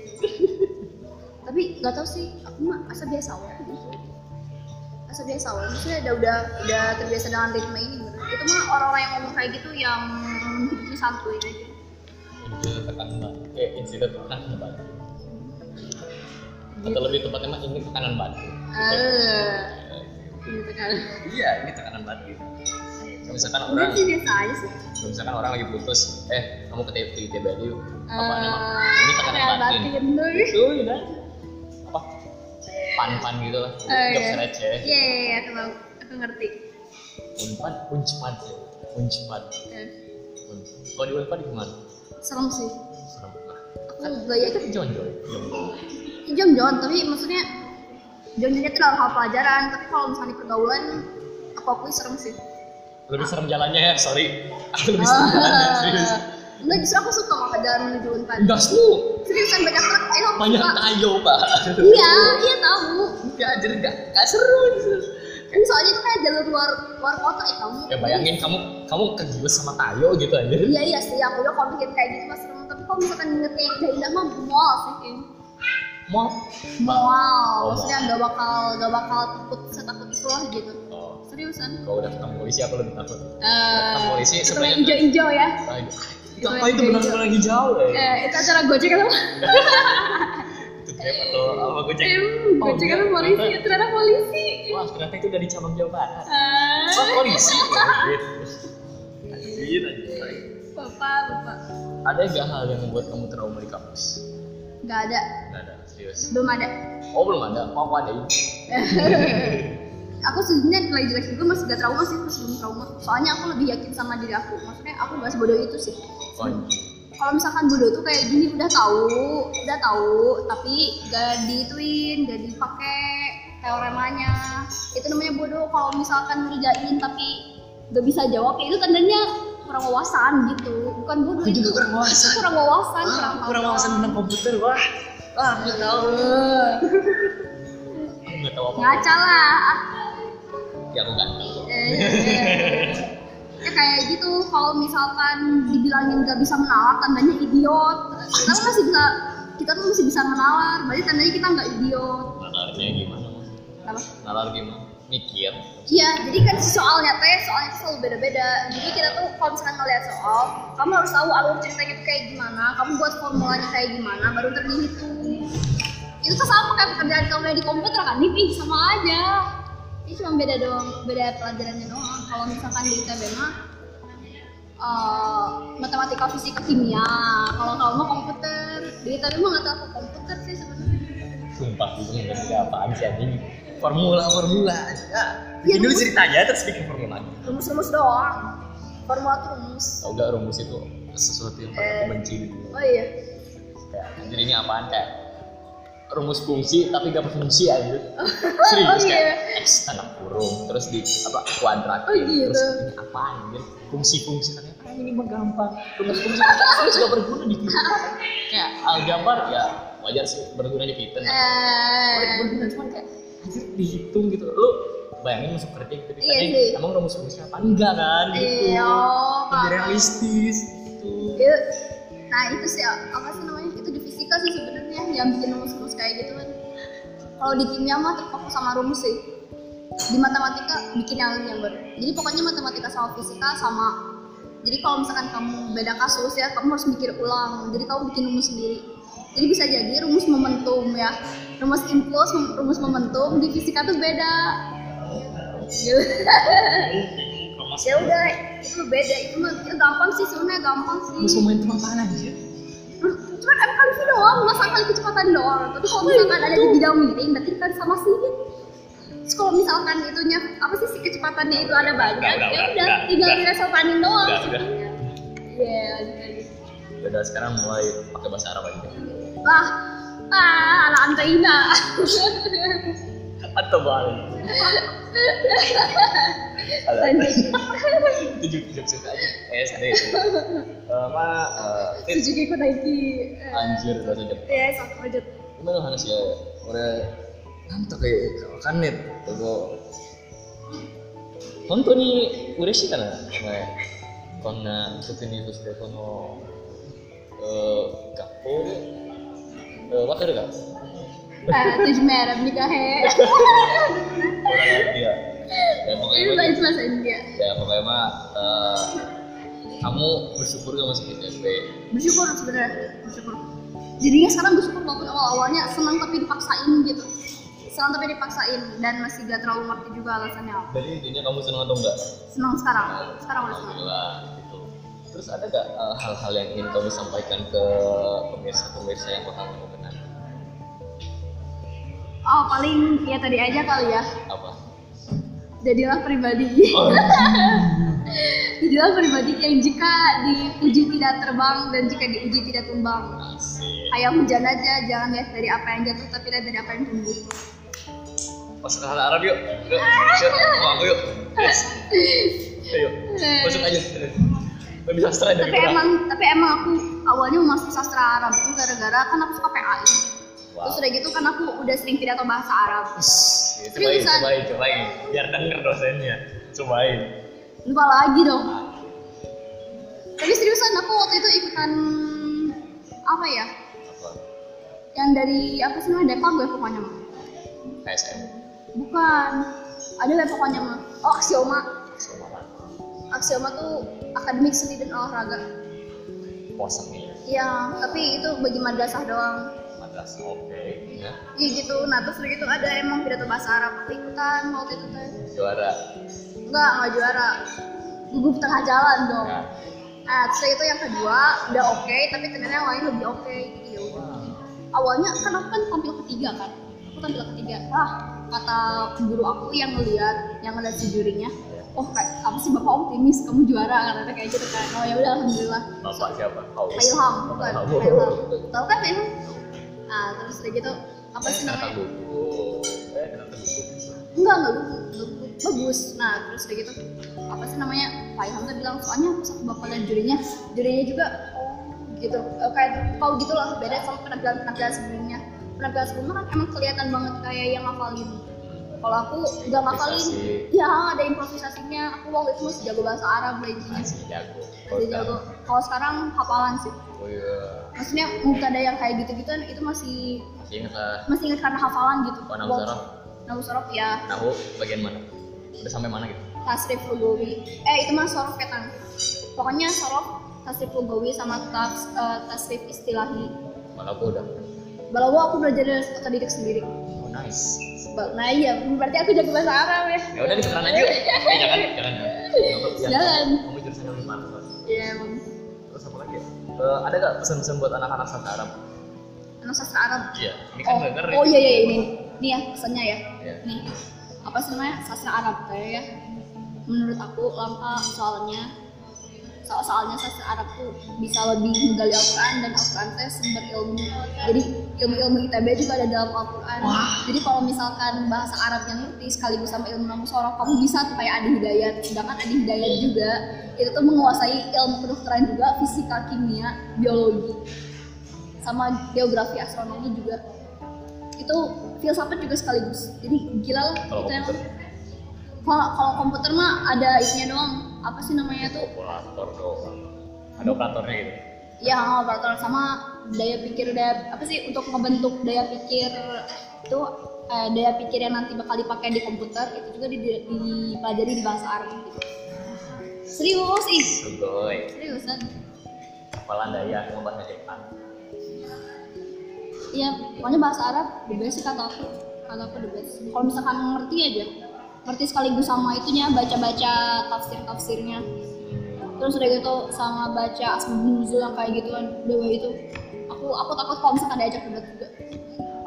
B: tapi nggak tau sih aku mah asa biasa aja asa biasa aja maksudnya udah udah udah terbiasa dengan ritme ini bener. itu mah orang-orang yang ngomong kayak gitu yang hidupnya santuy aja
A: Institut tekanan batin. Eh, institut tekanan batin.
B: Gitu.
A: Atau lebih tepatnya mah ini tekanan batin.
B: eh gitu kan
A: Iya, ini tekanan batin. Kalau misalkan
B: mungkin
A: orang,
B: sih biasa aja sih
A: kalau misalkan orang lagi putus, eh kamu ke TP ITB aja yuk. Apa namanya?
B: Eh,
A: Ini tekanan
B: kayak
A: batin. Eh.
B: tuh.
A: Itu udah. Apa? Pan-pan gitu lah.
B: Eh,
A: Jokes
B: iya.
A: receh.
B: Iya, iya, iya, aku tahu. aku ngerti.
A: Unpad, unpad ya. Unpad.
B: Eh,
A: Unpad. Kalau di unpad gimana?
B: Serem sih.
A: Serem.
B: Aku gaya
A: Itu jonjol. Jonjol.
B: jom-jom tapi maksudnya jom-jomnya itu dalam hal pelajaran tapi kalau misalnya di pergaulan aku akui serem sih Oh.
A: lebih serem jalannya ya sorry aku lebih
B: Ah.
A: serem jalannya serius
B: enggak justru aku suka makan jalan menuju unpad
A: gas lu
B: seriusan banyak truk ayo eh, aku
A: banyak
B: suka.
A: tayo pak
B: iya iya tahu
A: enggak jadi enggak enggak seru
B: kan soalnya itu kayak jalur luar luar kota ya kamu
A: ya bayangin kamu kamu kegiles sama tayo gitu aja
B: iya iya sih aku udah kalau bikin kayak gitu mas serem tapi kalau misalkan ingetnya yang indah-indah mah mual sih kayaknya.
A: mau Oh,
B: mual maksudnya nggak bakal nggak bakal takut setakut itulah gitu
A: oh
B: seriusan
A: kalau udah ketemu polisi aku lebih takut
B: Eh,
A: Ketemu polisi,
B: ketemu
A: sebenarnya-
B: yang hijau-hijau ya
A: Tayo.
B: Itu
A: apa
B: yang
A: itu benar-benar hijau ya
B: Eh, itu acara Gojek atau
A: itu grab atau apa gue cek
B: Em,
A: Oh,
B: Gojek
A: iya,
B: atau polisi?
A: ternyata-
B: Ternyata polisi.
A: wah ternyata itu dari cabang jawa barat
B: Ah,
A: oh polisi Anjir, anjir.
B: Bapak, bapak.
A: ada nggak hal yang membuat kamu trauma di kampus?
B: Gak ada,
A: Nggak ada, serius.
B: belum ada.
A: Oh belum ada, mau aku adain.
B: aku sebenarnya nilai jelek juga masih gak trauma sih, masih belum trauma. Soalnya aku lebih yakin sama diri aku. Maksudnya aku gak sebodoh itu sih.
A: Anjir.
B: Kalau misalkan bodoh tuh kayak gini udah tahu, udah tahu, tapi gak diituin, gak dipakai teoremanya. Itu namanya bodoh. Kalau misalkan ngerjain tapi gak bisa jawab, ya itu tandanya kurang wawasan gitu. Bukan bodoh
A: Aku juga
B: itu.
A: kurang wawasan.
B: kurang wawasan
A: Ah,
B: kurang
A: aku kurang wawasan tentang komputer, wah. Wah, aku tahu. Aku nggak tahu apa.
B: ngaca lah
A: Ya aku nggak tahu.
B: Eh, ya kayak gitu kalau misalkan dibilangin gak bisa menalar tandanya idiot kita kan masih bisa kita tuh masih bisa menalar berarti tandanya kita nggak idiot
A: Nalarnya gimana? Mas?
B: Kenapa?
A: Nalar gimana? Mikir.
B: Iya, jadi kan si soalnya teh soalnya itu selalu beda-beda. Jadi kita tuh kalau misalkan ngeliat soal, kamu harus tahu alur ceritanya tuh kayak gimana, kamu buat formulanya kayak gimana, baru ntar dihitung. Itu tuh sama kayak pekerjaan kamu yang di komputer kan, nipih sama aja. Ini cuma beda doang, beda pelajarannya doang. Kalau misalkan di ITB mah eh, matematika, fisika, kimia. Kalau kamu mah komputer, di ITB mah nggak tahu aku komputer sih sebenarnya.
A: Sumpah, itu nggak ngerti apaan sih anjing. Formula, formula. Ya,
B: Iya,
A: bikin dulu
B: rumus.
A: ceritanya, terus bikin formulanya.
B: Rumus-rumus doang, formula tuh rumus.
A: Tau nggak rumus itu sesuatu yang paling aku benci gitu.
B: Oh iya,
A: Kayak, anjir ini apaan kayak rumus fungsi tapi gak berfungsi aja
B: oh
A: serius
B: iya.
A: kan x tanda kurung terus di apa kuadrat
B: Oh, gitu.
A: terus ini apa anjir fungsi-fungsi ternyata ah, ini mah gampang rumus fungsi terus gak berguna di kita kayak aljabar ya wajar sih berguna di kita
B: Eh,
A: berguna cuma kayak anjir dihitung gitu lu bayangin masuk kerja gitu
B: Iya
A: ditanya,
B: sih.
A: emang rumus fungsi apa enggak kan gitu
B: Iya,
A: lebih
B: paham.
A: realistis gitu
B: Iya. Nah itu sih apa sih namanya? Itu di fisika sih sebenarnya yang bikin rumus-rumus kayak gitu kan. Kalau di kimia mah terfokus sama rumus sih. Di matematika bikin yang yang baru. Jadi pokoknya matematika sama fisika sama. Jadi kalau misalkan kamu beda kasus ya, kamu harus mikir ulang. Jadi kamu bikin rumus sendiri. Jadi bisa jadi rumus momentum ya, rumus impuls, mem- rumus momentum di fisika tuh beda. Gitu.
A: kalau masuk
B: ya udah itu beda itu mah ya gampang sih sebenarnya gampang sih.
A: rumus momentum apaan anjir
B: cuman M kali V doang, masa kali kecepatan doang. Tapi kalau misalkan ada di bidang miring, berarti kan sama sih. Terus kalau misalkan itunya apa sih si kecepatannya itu ada banyak,
A: Udah, udah,
B: ya
A: udah,
B: udah,
A: udah,
B: tinggal
A: udah.
B: diresopanin doang.
A: Udah, udah.
B: sebenarnya. Iya. gitu.
A: udah sekarang mulai pakai bahasa Arab aja
B: Lah, ah, ala Anta Ina.
A: atau balik
B: Lanjut.
A: tujuh tujuh juta aja SD sama eh,
B: Suzuki Kodaiki. Eh,
A: anjir bahasa Jepang
B: Ya, sama lanjut.
A: gimana Hanes ya udah nanti kayak kanet tuh本当に嬉しいかな、前こんな職人としてこのうー学校でうんわかるか
B: Eh, tujuh merah nikah he.
A: ya ya
B: Itu
A: pokoknya mah-
B: bahasa bahasa India.
A: ya pokoknya mah eh, kamu bersyukur kamu masih di SMP
B: bersyukur sebenarnya bersyukur jadinya sekarang bersyukur walaupun awal awalnya senang tapi dipaksain gitu senang tapi dipaksain dan masih gak terlalu ngerti juga alasannya apa.
A: jadi intinya kamu senang atau enggak
B: senang sekarang sekarang udah senang
A: alhamdulillah gitu terus ada gak eh, hal-hal yang ingin kamu sampaikan ke pemirsa-pemirsa yang bakal kamu kenal
B: oh paling ya tadi aja kali ya
A: apa
B: jadilah pribadi jadilah pribadi yang jika diuji tidak terbang dan jika diuji tidak tumbang
A: asik
B: kayak hujan aja jangan lihat dari apa yang jatuh tapi lihat dari apa yang tumbuh
A: masuk ke hal Arab yuk yuk yuk sama aku yuk yes ayo masuk aja lebih sastra dari
B: tapi
A: kita
B: emang tapi emang aku awalnya mau masuk sastra Arab itu gara-gara kan aku suka PAI
A: Wow.
B: terus udah gitu kan aku udah sering pidato bahasa Arab
A: Shhh, cobain
B: Seriusan.
A: cobain cobain biar denger dosennya cobain
B: lupa lagi dong tapi seriusan aku waktu itu ikutan apa ya
A: apa
B: yang dari apa sih namanya Depang gue pokoknya mah
A: KSM
B: bukan ada lah pokoknya mah oh aksioma
A: Somalan
B: aksioma tuh akademik seni dan olahraga
A: Posen nih
B: iya tapi itu bagi madrasah doang
A: madrasah oke ya
B: Iya gitu, nah terus udah gitu ada emang pidato bahasa Arab aku ikutan waktu itu teh
A: juara
B: Enggak, enggak juara Gugup tengah jalan dong
A: Nah.
B: Nah terus udah gitu yang kedua udah oke, tapi ternyata yang lain lebih oke gitu ya udah. Awalnya kan aku kan tampil ketiga kan Aku tampil ketiga, ah kata guru aku yang ngeliat, yang ngeliat si jurinya
A: Iya.
B: Oh kayak, apa sih bapak optimis, kamu juara katanya kayak gitu kan Oh ya udah alhamdulillah
A: bapak siapa Haus
B: Ilham, bukan
A: Bapak
B: Ilham
A: Haus
B: Tau kan Ilham? Nah terus udah gitu, apa sih
A: Kata
B: namanya?
A: gugup. eh kata gugup.
B: enggak enggak gugup, gugup. bagus nah terus udah gitu apa sih namanya Pak Ilham tuh bilang soalnya satu bapak dan jurinya jurinya juga oh, gitu Eh, kayak kau gitu lah beda sama penampilan penampilan sebelumnya penampilan sebelumnya kan emang kelihatan banget kayak yang ngafalin kalau aku nggak ngafalin
A: Improvisasi.
B: ya ada improvisasinya aku waktu itu masih jago bahasa Arab lah intinya
A: masih Ah, jago
B: masih jago kalau sekarang hafalan sih
A: oh iya
B: maksudnya mubtada yang kayak gitu-gitu kan itu masih
A: masih ingat lah
B: masih ingat karena hafalan gitu
A: Oh, nahwu sorof?
B: Nahwu sorof, ya
A: tahu bagian mana udah sampai mana gitu
B: tasrif lugawi eh itu mah sorof ketan pokoknya sorof tasrif lugawi sama tas, eh, tasrif istilahi
A: malah aku udah
B: Balawa aku belajar dari otodidik sendiri
A: oh nice
B: Ba- nah iya berarti aku jago bahasa Arab ya
A: ya udah di sekarang aja yuk eh jangan jangan ya
B: Jangan.
A: kamu jurusan yang lebih mantap
B: iya emang
A: terus apa lagi ya? Eh, ada gak pesan-pesan buat anak-anak sastra Arab?
B: anak sastra Arab
A: Iya, ini kan
B: oh,
A: bener
B: oh iya iya ini ini ya pesannya ya
A: Iya.
B: nih apa sih namanya sastra Arab kayak ya menurut aku langka soalnya soal-soalnya sastra Arab tuh bisa lebih menggali Al-Quran dan Al-Quran teh sumber ilmu jadi ilmu-ilmu ITB juga ada dalam Al-Quran jadi kalau misalkan bahasa Arab yang ngerti sekaligus sama ilmu namu sorok kamu bisa tuh kayak Adi Hidayat sedangkan Adi Hidayat juga itu tuh menguasai ilmu kedokteran juga fisika kimia biologi sama geografi astronomi juga itu filsafat juga sekaligus jadi gila lah
A: Kalau
B: itu yang
A: komputer?
B: kalau kalau komputer mah ada itunya doang apa sih namanya tuh
A: Kalkulator doang. Ada operatornya gitu.
B: ya operator sama daya pikir daya apa sih untuk membentuk daya pikir itu eh, daya pikir yang nanti bakal dipakai di komputer itu juga di, di- dipelajari di bahasa Arab gitu. serius ih
A: Sugoi.
B: seriusan
A: Kepala daya yang bahasa Jepang.
B: Iya, pokoknya bahasa Arab the best sih kata aku. Kata aku the best. Kalau misalkan ngerti aja, ngerti sekaligus sama itunya baca-baca tafsir-tafsirnya. Terus udah gitu sama baca asbabun nuzul yang kayak gitu gituan, dewa itu. Aku aku takut kalau misalkan diajak debat juga.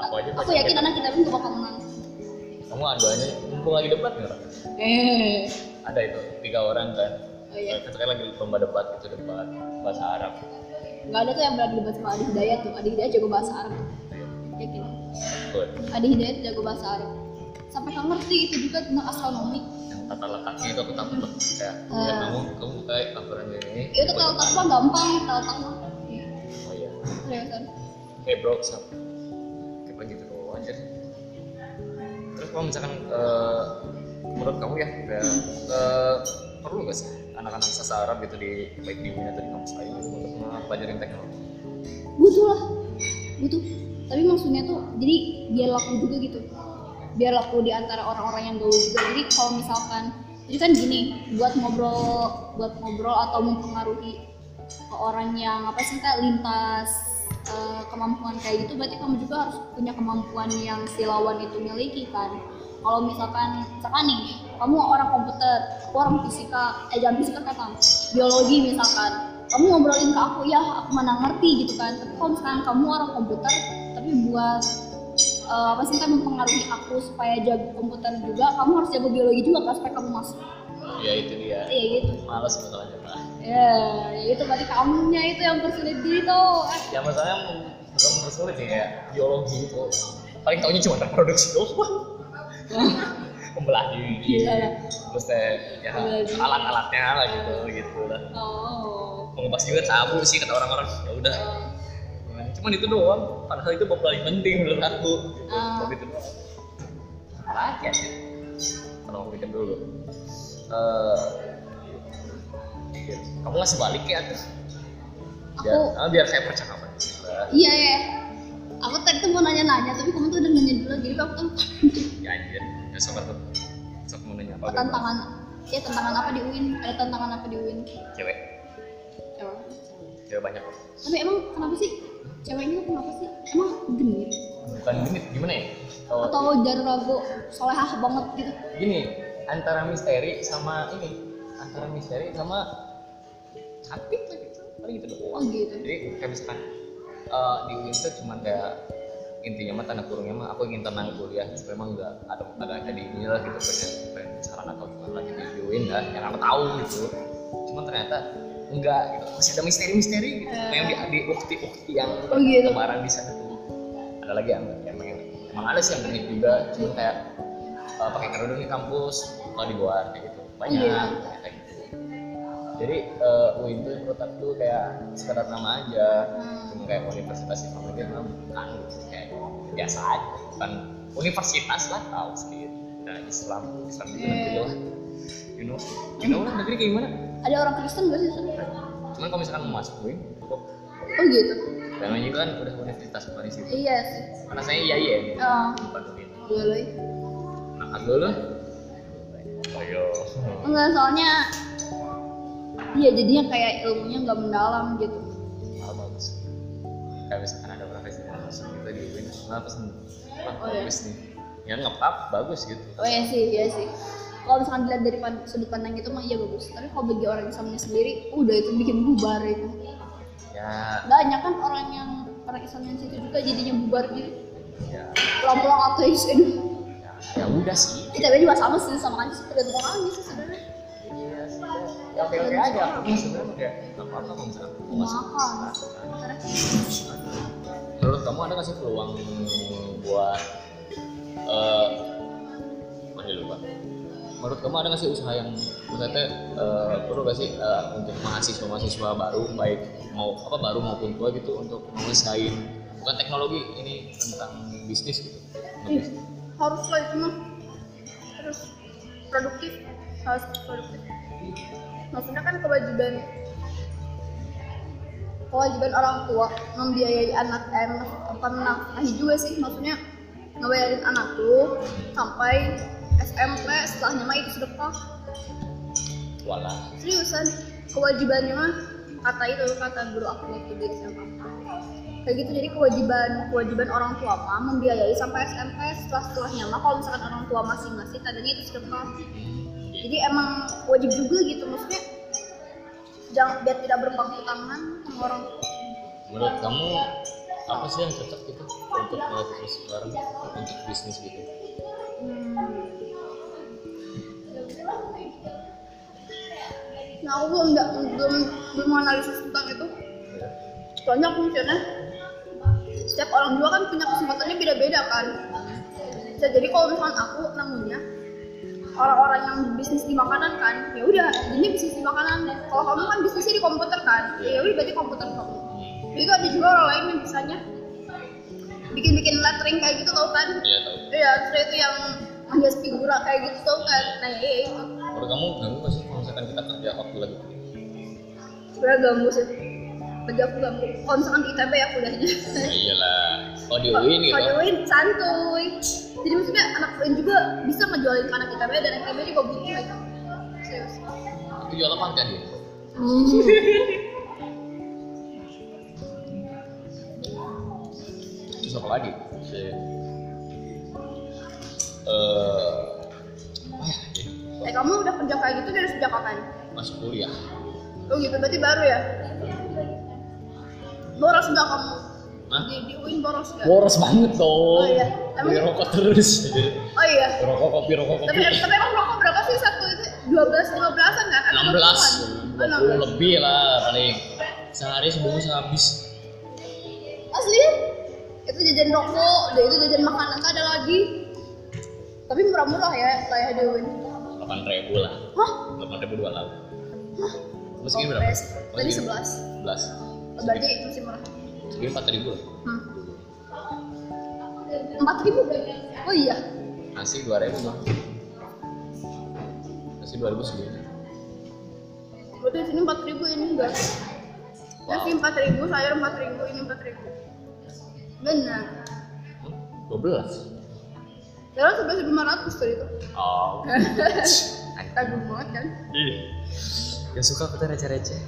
A: Aku aja
B: Aku
A: baca
B: yakin
A: debat.
B: anak kita pun gak bakal menang.
A: Kamu ada aja, mumpung lagi debat nggak? Ra?
B: Eh,
A: Ada itu tiga orang kan.
B: Oh, iya.
A: Ketika lagi lomba debat itu debat bahasa Arab.
B: nggak ada tuh yang berani debat sama Adi Hidayat tuh. Adi Hidayat jago bahasa Arab. Yakin.
A: Good.
B: Adi Hidayat jago bahasa Arab. Sampai kamu ngerti itu juga tentang astronomi.
A: Yang tata letaknya itu aku takut loh. Kayak ya,
B: Ah.
A: kamu kamu buka aturan ini.
B: Itu kalau tak mah gampang, kalau tak mah.
A: Oh iya.
B: Seriusan.
A: Eh bro, sap. Kayak begitu doang anjir. Terus kalau misalkan eh, menurut kamu ya, kayak, eh, perlu nggak sih anak-anak sastra Arab gitu di baik di UIN atau di kampus lain gitu untuk mempelajari teknologi?
B: butuh lah butuh tapi maksudnya tuh jadi biar laku juga gitu biar laku di antara orang-orang yang gaul juga jadi kalau misalkan jadi kan gini buat ngobrol buat ngobrol atau mempengaruhi ke orang yang apa sih kak lintas eh, kemampuan kayak gitu berarti kamu juga harus punya kemampuan yang si lawan itu miliki kan kalau misalkan misalkan nih kamu orang komputer aku orang fisika eh jangan fisika kan biologi misalkan kamu ngobrolin ke aku ya aku mana ngerti gitu kan tapi kalau misalkan kamu orang komputer tapi buat eh, apa sih kan mempengaruhi aku supaya jago komputer juga kamu harus jago biologi juga kan supaya kamu masuk
A: Ya itu dia.
B: iya gitu
A: Males bakalan nyerah.
B: ya itu berarti kamunya itu yang bersulit diri tuh Eh,
A: Ya masalahnya bukan mempersulit ya, kayak biologi itu paling taunya cuma reproduksi doang. Membelah diri.
B: Iya, iya.
A: Terus teh ya
B: Membelah diri.
A: alat-alatnya lah gitu gitu lah.
B: oh
A: Mengupas juga tabu sih kata orang-orang. Ya udah,
B: Eh,
A: cuman itu doang padahal itu bab paling penting menurut aku gitu.
B: Ah.
A: Bab itu doang apalagi ya sih kalau mau pikir dulu Eh, kamu ngasih balik ya tuh biar,
B: Aku-
A: ah, biar kayak percakapan gitu lah.
B: Iya ya. Aku tadi tuh mau nanya-nanya, tapi kamu tuh udah nanya dulu, jadi aku tuh
A: ya anjir ya sobat tuh sok mau nanya apa bebas.
B: tantangan. Ya tantangan apa di UIN? Ada tantangan apa di UIN?
A: cewek
B: Cewek.
A: cewek banyak loh
B: Tapi emang kenapa sih? Ceweknya kenapa sih? Emang genit?
A: bukan genit gimana ya kalau
B: Atau jarrago solehah banget gitu?
A: gini antara misteri sama ini antara misteri sama cantik lah gitu paling itu doang
B: Oh gitu.
A: jadi kayak misalkan eh, di UIN tuh cuman kayak intinya mah tanda kurungnya mah aku ingin tenang kuliah cuma emang nggak ada ada ada ini lah gitu pengen pengen saran atau gimana gitu di UIN lah yang aku tahu gitu cuman ternyata enggak gitu masih ada misteri-misteri gitu
B: Eh.
A: yang di, di ukti-ukti yang
B: Oh, gitu.
A: kemarin di sana tuh ada lagi yang emang yang emang ada sih yang genit juga cuman kayak eh, pakai kerudung di kampus kalau di luar kayak gitu banyak
B: Iya.
A: kayak gitu jadi eh, UIN tuh menurut aku tuh kayak sekedar nama aja
B: Hmm.
A: cuma kayak universitas Islam itu emang bukan gitu. kayak biasa aja bukan universitas lah tahu sendiri nah Islam Islam itu
B: Yeah.
A: negeri lah you know you know lah negeri kayak gimana
B: Ada orang Kristen gak sih? di sana?
A: cuman kalau misalkan mau masuk UIN cukup
B: Oh gitu.
A: dan namanya itu kan udah universitas bukan di situ
B: Iya sih.
A: karena saya iya iya
B: Eh,
A: bukan UIN
B: gue loh.
A: nah dulu ayo
B: Enggak soalnya. Iya jadinya kayak ilmunya nggak mendalam gitu.
A: hal bagus kayak misalkan ada orang festival musik kita di UIN nah pesen wah
B: Oh, iya.
A: bagus nih ya ngepap bagus gitu
B: Oh iya sih, iya sih. Kalau misalkan dilihat dari pan- sudut pandang itu mah iya bagus. Tapi kalau bagi orang Islamnya sendiri, udah itu bikin bubar itu.
A: ya
B: Banyak kan orang yang orang Islam yang situ juga jadinya bubar gitu.
A: ya
B: Pulang-pulang ateis, aduh.
A: ya, ya udah sih
B: ITB juga sama sih, sama aja sih. Tergantung orangnya sih sebenarnya.
A: ya
C: ya oke oke aja aku sebenarnya kayak
A: Gak apa-apa kalau misalkan mau masuk.
D: makan
A: Menurut kamu ada nggak sih peluang buat eh mana lupa? Menurut kamu ada nggak sih usaha yang maksudnya eh, perlu nggak sih eh, untuk mahasiswa mahasiswa baru baik mau apa baru maupun tua gitu untuk mengusahain bukan teknologi ini tentang bisnis gitu.
B: Ih, harus lah itu mah harus produktif harus produktif maksudnya kan kewajiban
D: kewajiban orang tua membiayai anak eh apa menafkahi juga sih maksudnya ngebayarin anak lu sampai SMP setelahnya mah itu sedekah
A: Walah.
D: seriusan kewajibannya mah kata itu kata guru aku waktu di SMA kayak gitu jadi kewajiban kewajiban orang tua mah membiayai sampai SMP setelah setelahnya mah kalau misalkan orang tua masih ngasih tandanya itu sedekah jadi emang wajib juga gitu maksudnya jangan biar tidak berpangku tangan sama orang tua
A: Menurut kamu apa sih yang cocok gitu untuk mahasiswa sekarang untuk bisnis gitu?
B: Hmm. nah aku belum nggak belum belum analisis tentang itu soalnya aku mikirnya setiap orang juga kan punya kesempatannya beda-beda kan bisa jadi kalau misalkan aku nemunya orang-orang yang bisnis di makanan kan ya udah ini bisnis di makanan kalau kamu kan bisnisnya di komputer kan ya udah berarti komputer kamu
A: Hmm.
B: itu ada juga orang lain yang bisanya bikin-bikin lettering kayak gitu tau kan
A: Iya tahu.
B: Iya, terus itu yang menghias figura kayak gitu tuh kan. Nah, iya itu.
A: Menurut kamu ganggu nggak sih kalau misalkan kita kerja gitu. waktu lagi?
B: Sebenernya ganggu sih. Bagi aku ganggu. Kalau misalkan di ITB ya kuliahnya.
A: Ya iyalah. Kalau di UIN gitu.
B: Kalau di UIN santuy. Jadi maksudnya anak UIN juga bisa ngejualin ke anak ITB dan anak ITB juga butuh itu. Serius.
A: Itu jual apa enggak dia? Terus apa lagi? Saya eh apa ya, jadi
B: Eh, kamu udah kerja kayak gitu dari sejak kapan?
A: masuk kuliah.
B: Oh gitu, berarti baru ya? Boros nggak kamu?
A: Hah?
B: Di, di UIN boros nggak?
A: Boros banget dong.
B: Oh, iya. Emang-
A: Beli rokok terus.
B: Oh iya.
A: rokok kopi rokok
B: tapi
A: kopi.
B: tapi emang rokok berapa sih satu itu dua belas lima belasan kan
A: 16
B: Oh, enam
A: 20 lebih lah paling sehari sebungkus habis
D: asli itu jajan rokok dan itu jajan makanan tak ada lagi tapi murah-murah ya saya Dewin
A: 8 ribu lah
D: hah
A: 8 ribu dua laut Terus segini berapa?
B: kompres tadi sebelas
A: 11
B: Oh, berarti masih murah
A: Segini 4 ribu lah
B: hmm.
D: empat ribu oh iya
A: Nasi 2 ribu bang Nasi 2 ribu segini
B: berarti di sini empat ribu ini enggak nasi
A: Wow.
B: empat ribu sayur empat ribu ini empat ribu benar
A: Hmm? 12
B: dalam sebelas lima ratus tuh itu
A: Oh
B: tanggung banget kan
A: Gak suka kita receh-receh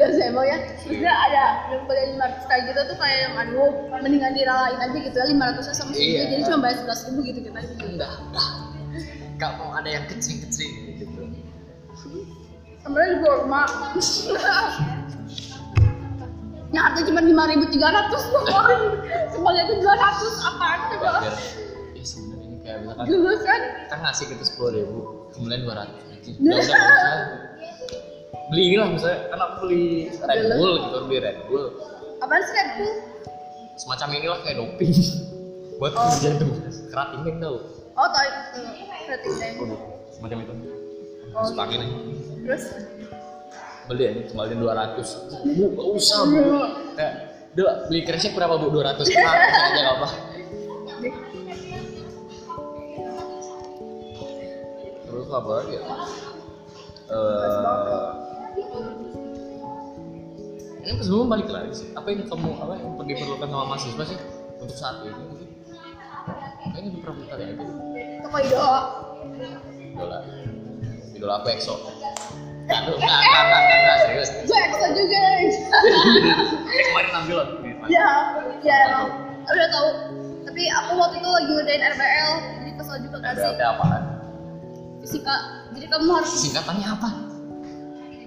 B: ya saya mau ya sebenarnya ada yang boleh lima ratus kayak gitu tuh kayak yang aduh mendingan diralain aja gitu ya lima ratusnya
A: Iya.
B: sama sendiri jadi cuma bayar sebelas ribu gitu kita gitu.
A: Enggak Gak mau ada yang kecil-kecil gitu
B: Sebenarnya juga rumah. Yang harganya cuma lima ribu tiga ratus doang. Sebagai tiga ratus apaan coba?
A: Biar Ya sebenernya ini kayak misalkan
B: Dulu kan
A: kita ngasih gitu sepuluh ribu kemudian dua ratus Ya udah udah nggak usah beli inilah misalnya kan aku beli Red Bull gitu beli Red Bull
B: apaan sih Red Bull?
A: semacam inilah kayak doping buat kerja tuh kerat ini tau
B: Oh, tau itu. Berarti saya-
A: semacam itu terus pakai nih
B: Terus
A: beli aja kembaliin dua ratus bu nggak usah bu kayak udah beli keresnya berapa bu dua ratus Nah, aja nggak apa terus apa lagi ya Eh, ini sebelum balik lagi sih apa yang kamu apa yang diperlukan sama mahasiswa sih untuk saat ini mungkin kayaknya di Pramuka ya itu
B: toko idola.
A: idola idola aku EXO nggak nggak nggak nggak nggak, nggak serius
B: Gue EXO juga.
A: kemarin tampilan
B: ya, ya emang. Udah tahu. Tapi aku waktu itu lagi ngerjain RBL, jadi kesel juga kan sih.
A: ada apa
B: Fisika. Jadi kamu harus
A: singkatannya apa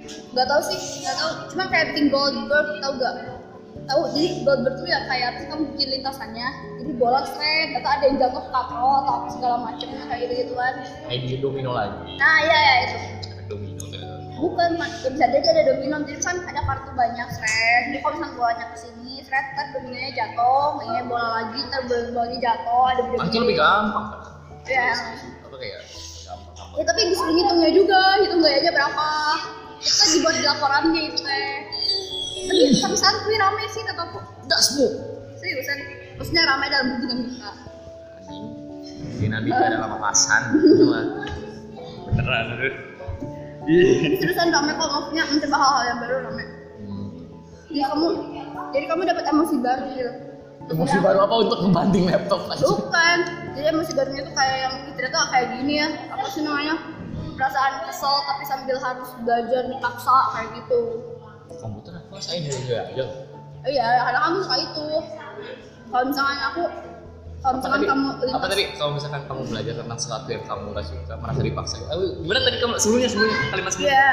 B: nggak gitu, tahu sih, nggak tahu. Cuman kayak bikin gold, tau gak?
E: tahu jadi Goldberg tuh ya kayak terus kamu bikin lintasannya jadi bola seret atau ada yang jatuh ke kapro atau apa segala macamnya kayak gitu gituan
A: Kayak di domino lagi.
E: nah iya ya itu
A: Efek domino ternyata.
E: bukan Mak. Ya, bisa jadi ada domino jadi kan ada kartu banyak seret jadi kalau misalnya bolanya kesini seret ntar dominonya jatuh mainnya bola lagi ntar bol- bolanya jatuh ada beda
A: Ah, itu lebih gampang kan?
E: ya
A: Apa kayak gampang-gampang.
E: ya tapi disuruh ngitungnya juga hitung gayanya berapa itu kan dibuat di laporannya itu teh tapi tapi santuy rame sih kata aku
A: Enggak semua.
E: seriusan maksudnya ramai dalam dinamika
A: Anjing. Dinamika dalam papasan gitu mah. Beneran. aduh. Ih.
B: Seriusan rame kok maksudnya mencoba hal-hal yang baru rame. Jadi kamu jadi kamu dapat emosi baru gitu.
A: Emosi baru apa untuk ngebanting laptop aja?
B: Bukan. Jadi emosi barunya tuh kayak yang "Ih, ternyata kayak gini ya. Apa sih namanya? Perasaan kesel tapi sambil harus belajar dipaksa kayak gitu.
A: Komputer apa saya dari juga aja.
B: Oh Iya, kadang kamu suka itu. Kalau misalkan aku
A: Apa
B: kalau misalkan
A: tadi?
B: kamu
A: Apa tadi? Kalau misalkan kamu belajar tentang sesuatu yang kamu nggak suka, merasa dipaksa. Eh, gimana tadi kamu sebelumnya sebelumnya kalimat sebelumnya?
B: Iya,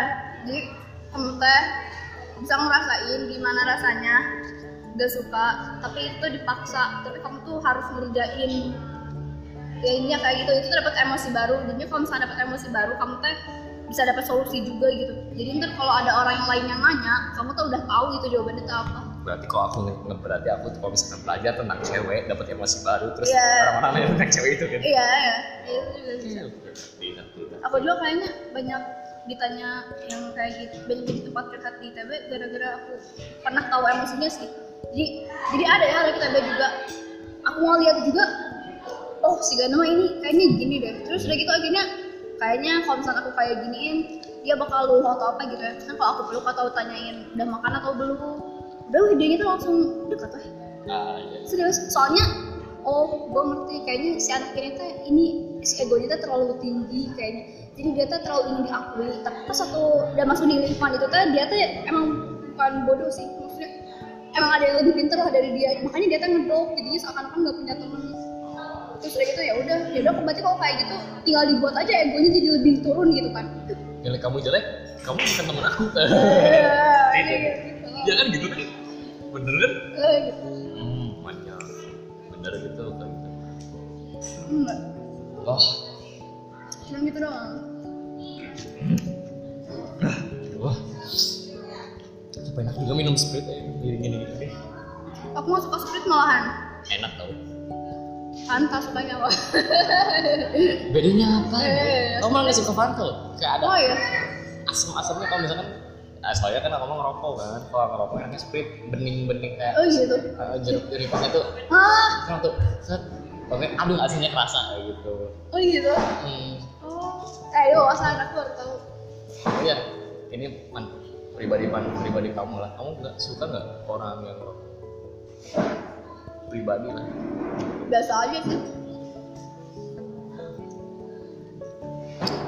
B: jadi kamu teh bisa ngerasain gimana rasanya gak suka, tapi itu dipaksa, tapi kamu tuh harus ngerjain ya ini ya kayak gitu, itu tuh dapat emosi baru. Jadi kalau misalnya dapat emosi baru, kamu teh bisa dapat solusi juga gitu. Jadi ntar kalau ada orang yang lain yang nanya, kamu tuh udah tahu gitu jawabannya tuh apa.
A: Berarti kalau aku nih, berarti aku tuh kalau misalkan belajar tentang cewek, dapat emosi baru, terus
B: Iya.
A: orang-orang lain tentang cewek itu kan?
B: Iya, iya, itu juga bisa.
A: Iya.
B: Aku juga kayaknya banyak ditanya yang kayak gitu, banyak jadi tempat curhat di ITB gara-gara aku pernah tahu emosinya sih. Jadi jadi ada ya lagi ITB juga. Aku mau lihat juga, oh si Gana mah ini kayaknya gini deh. Terus udah gitu akhirnya kayaknya kalau misalnya aku kayak giniin dia bakal luh atau apa gitu ya. Kan kalau aku peluk atau tanyain udah makan atau belum, udah wih, dia gitu langsung dekat wah
A: Ah, iya.
B: serius soalnya oh gue ngerti kayaknya si anak ini teh ini si ego dia teh terlalu tinggi kayaknya jadi dia teh terlalu ingin diakui tapi pas satu udah masuk di lingkungan itu teh dia teh emang bukan bodoh sih maksudnya emang ada yang lebih pintar lah dari dia makanya dia teh ngedrop jadinya seakan-akan nggak punya temen terus udah gitu ya udah ya udah berarti kalau kayak gitu tinggal dibuat aja egonya jadi lebih turun gitu kan
A: Nilai kamu jelek, kamu bukan teman aku.
B: Iya,
A: Gitu.
B: iya,
A: Ya kan gitu kan? Bener kan?
B: gitu. Eh, gitu.
A: Hmm, manja. Bener gitu kayak gitu.
B: enggak
A: Wah,
B: Hmm, cuma gitu doang
A: wah. Apa enak juga minum sprite ya? Gini-gini gitu deh.
B: aku nggak suka split malahan
A: Enak tau.
B: Fanta sukanya loh
A: Bedanya apa?
B: Iya, iya, iya.
A: Kamu malah nggak suka Fanta loh? Kayak ada
B: oh iya
A: asam-asamnya kalau misalkan ah, soalnya kan kamu ngerokok kan kalau ngerokok enaknya sprit bening-bening kayak
B: oh gitu
A: eh, jeruk nipasnya tuh
B: ah
A: kan tuh set oke aduh asinnya kerasa kayak gitu
B: Oh gitu.
A: hmm,
B: Oh. Eh, yuk, asal aku baru tahu.
A: oh iya ini man pribadi man pribadi kamu lah kamu nggak suka nggak orang yang ngerokok pribadi lah
B: Biasa aja sih.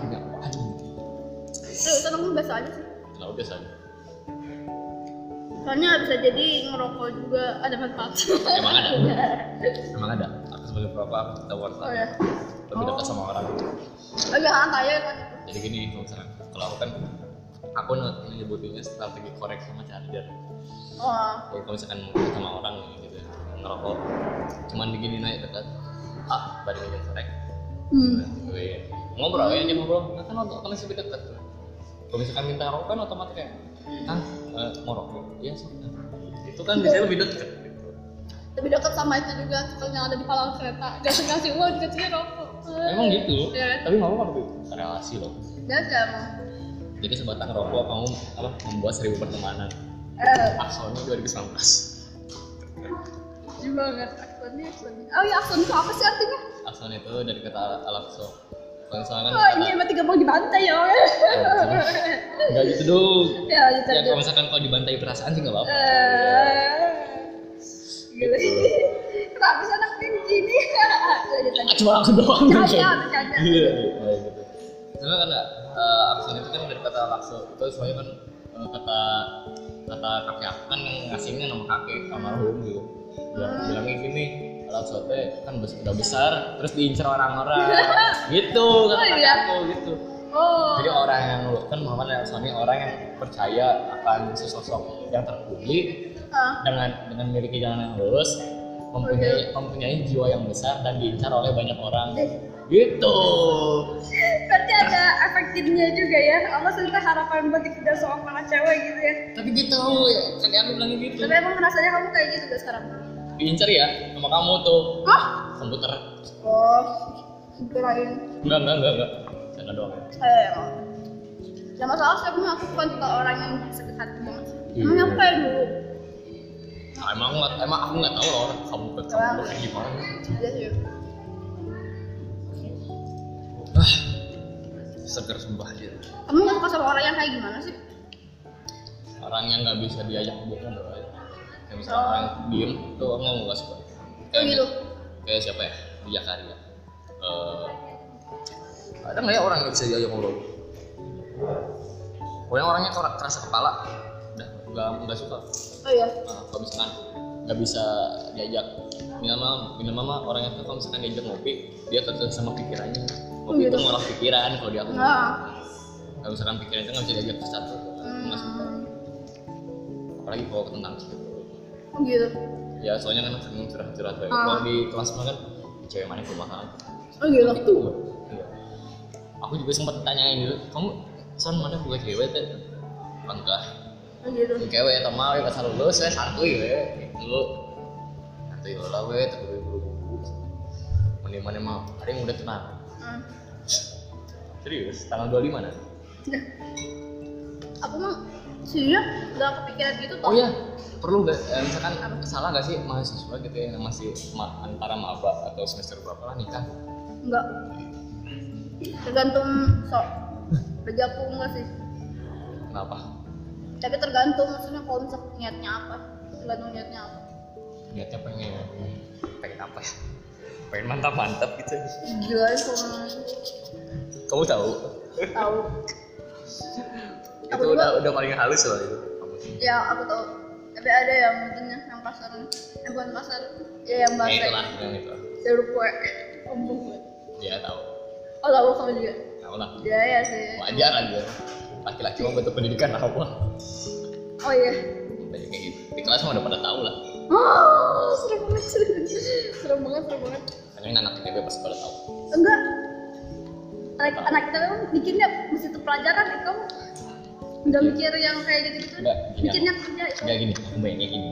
A: nggak anjing
B: Seriusan aku Eh, biasa aja sih.
A: nggak udah saja
B: Soalnya bisa jadi ngerokok juga ada manfaat.
A: emang ada emang ada aku sebagai perokok aku ketahuan
B: oh
A: lah
B: ya.
A: lebih dekat sama orang
B: Oh iya, kan tanya kan.
A: jadi gini kalau misalkan kalau aku kan aku nge- menyebutinnya strategi korek sama charger
B: Oh.
A: jadi kalau misalkan ngobrol sama orang nih, gitu ngerokok cuman begini naik dekat ah baru bikin korek
B: Hmm.
A: Nah, gitu ya. ngobrol ya dia ngobrol nah, kan untuk kan masih lebih dekat tuh kalau misalkan minta rokok kan otomatis kayak ah eh, mau rokok ya sudah itu kan biasanya lebih dekat gitu.
B: Lebih dekat sama itu juga kalau yang ada di palang kereta. Gak ngasih uang, jadinya rokok.
A: emang gitu
B: Iya.
A: tapi nggak apa-apa tuh. relasi loh
B: Gak sih emang.
A: jadi sebatang rokok kamu apa membuat seribu pertemanan
B: Eh,
A: aksonnya 2019
B: juga banget. Aksonnya, aksonnya. Oh iya, akson itu apa sih artinya?
A: Akson itu dari kata Alakso. Kalau misalkan
B: Oh
A: kata-
B: ini emang tiga mau dibantai ya.
A: Enggak gitu dong.
B: Ya, gitu
A: Oh, Ya
B: aja.
A: kalau misalkan kalau dibantai perasaan sih enggak apa-apa.
B: Eh. Gila. Kenapa sih anak ini gini? Lanjut
A: Ah, Cuma aku doang
B: Bercanda,
A: Iya.
B: bercanda.
A: Iya, kayak gitu. Sebenarnya kan eh, akson itu kan dari kata Alakso. Itu soalnya kan eh, kata kata kakek aku kan yang ngasihnya nama kakek almarhum gitu. Bilang,
B: Hmm.
A: bilangnya gini, Alakso teh kan bes- udah besar terus diincar orang-orang. gitu kata
B: Oh,
A: kakek
B: iya.
A: aku gitu.
B: Oh,
A: Jadi orang yang kan Muhammad Al-Sani orang yang percaya akan sesosok yang terpuji
B: Hah?
A: dengan dengan memiliki jalan yang lurus mempunyai mempunyai jiwa yang besar dan diincar oleh banyak orang gitu
F: Berarti ada efek jadinya juga ya. Apa
B: kan
F: sih itu harapan buat dikejar seorang cewek gitu ya.
A: tapi gitu ya kalian bilangnya gitu
F: Tapi emang rasanya kamu kayak gitu gak sekarang?
A: diincar ya sama kamu tuh
B: Hah?
A: komputer
B: Oh, kirain.
A: enggak enggak enggak enggak sana doang
B: Eh, ya masalah sih, emang aku bukan tipe orang yang sakit hati banget. Emang
A: Iya.
B: aku kayak dulu.
A: Nah, emang nggak- emang aku nggak tahu loh orang kamu ke kamu tuh kayak gimana
B: Iya sih.
A: ah seger sembah dia
B: Kamu nggak suka sama orang yang kayak gimana sih?
A: orang yang nggak bisa diajak bohong loh ya kayak misalnya orang yang diem tuh aku nggak nggak suka kayak
B: gitu.
A: kayak siapa ya di Jakarta Eh, ada nggak ya orang yang bisa diajak ngobrol pokoknya orangnya ker- keras kepala udah nggak nggak suka
B: Oh iya.
A: nah, kalau misalkan nggak bisa diajak minimal minimal mah orangnya tuh kalau misalkan diajak ngopi dia tuh sama pikirannya ngopi itu
B: gitu.
A: ngolah pikiran kalau dia aku
B: Nah,
A: kalau misalkan pikirannya nggak bisa diajak bersatu
B: Hmm.
A: aku nggak suka apalagi kalau tentang
B: oh gitu.
A: ya soalnya kan sering curhat-curhat banget
B: Ah.
A: kalau di kelas mah kan cewek mana perumahan
B: Oh gitu.
A: itu iya. aku juga sempat tanyain gitu kamu son mana buka cewek teh enggak
B: Oh gitu.
A: cewek ya teman ya gitu." asal lulus saya santuy we itu santuy lah we tapi buru buru mana mana mah ada yang udah tenang
B: Hmm.
A: serius tanggal 25 nanti
B: Aku mah sebenarnya nggak kepikiran gitu toh.
A: Oh iya, perlu nggak? eh, misalkan salah nggak sih mahasiswa gitu ya yang masih ma- antara maba atau semester berapa lah nikah?
B: Enggak. Tergantung sok. Bagi aku enggak sih.
A: Kenapa?
B: Tapi tergantung maksudnya kalau misal niatnya apa. Tergantung niatnya apa.
A: Niatnya pengen pengen apa ya? Pengen mantap mantap gitu.
B: Gila ya sama
A: Kamu tahu?
B: tahu.
A: itu
B: juga.
A: udah udah paling halus loh itu. Nah,
B: Ya aku tahu. Tapi ada yang tentunya yang pasar, eh, bukan pasar, ya yang
A: Ya itulah,
B: bahasa
A: yang itu.
B: jeruk kue. Kampung gue.
A: Ya tahu.
B: Oh tahu kamu juga.
A: Tahu lah.
B: Ya ya sih.
A: Wajar aja. Laki-laki mau butuh pendidikan apa?
B: Oh iya.
A: Banyak kayak gitu. Di kelas mah udah pada tahu lah.
B: Oh, serem banget, serem banget, serem banget.
A: Karena anak ITB pasti pada tahu.
B: Enggak. Anak, anak kita memang bikinnya mesti pelajaran itu. Enggak mikir yang kayak gitu-gitu.
A: Enggak, Iya. gini
B: Mikirnya
A: aku-
B: kerja itu.
A: Enggak gini, aku bayangin gini.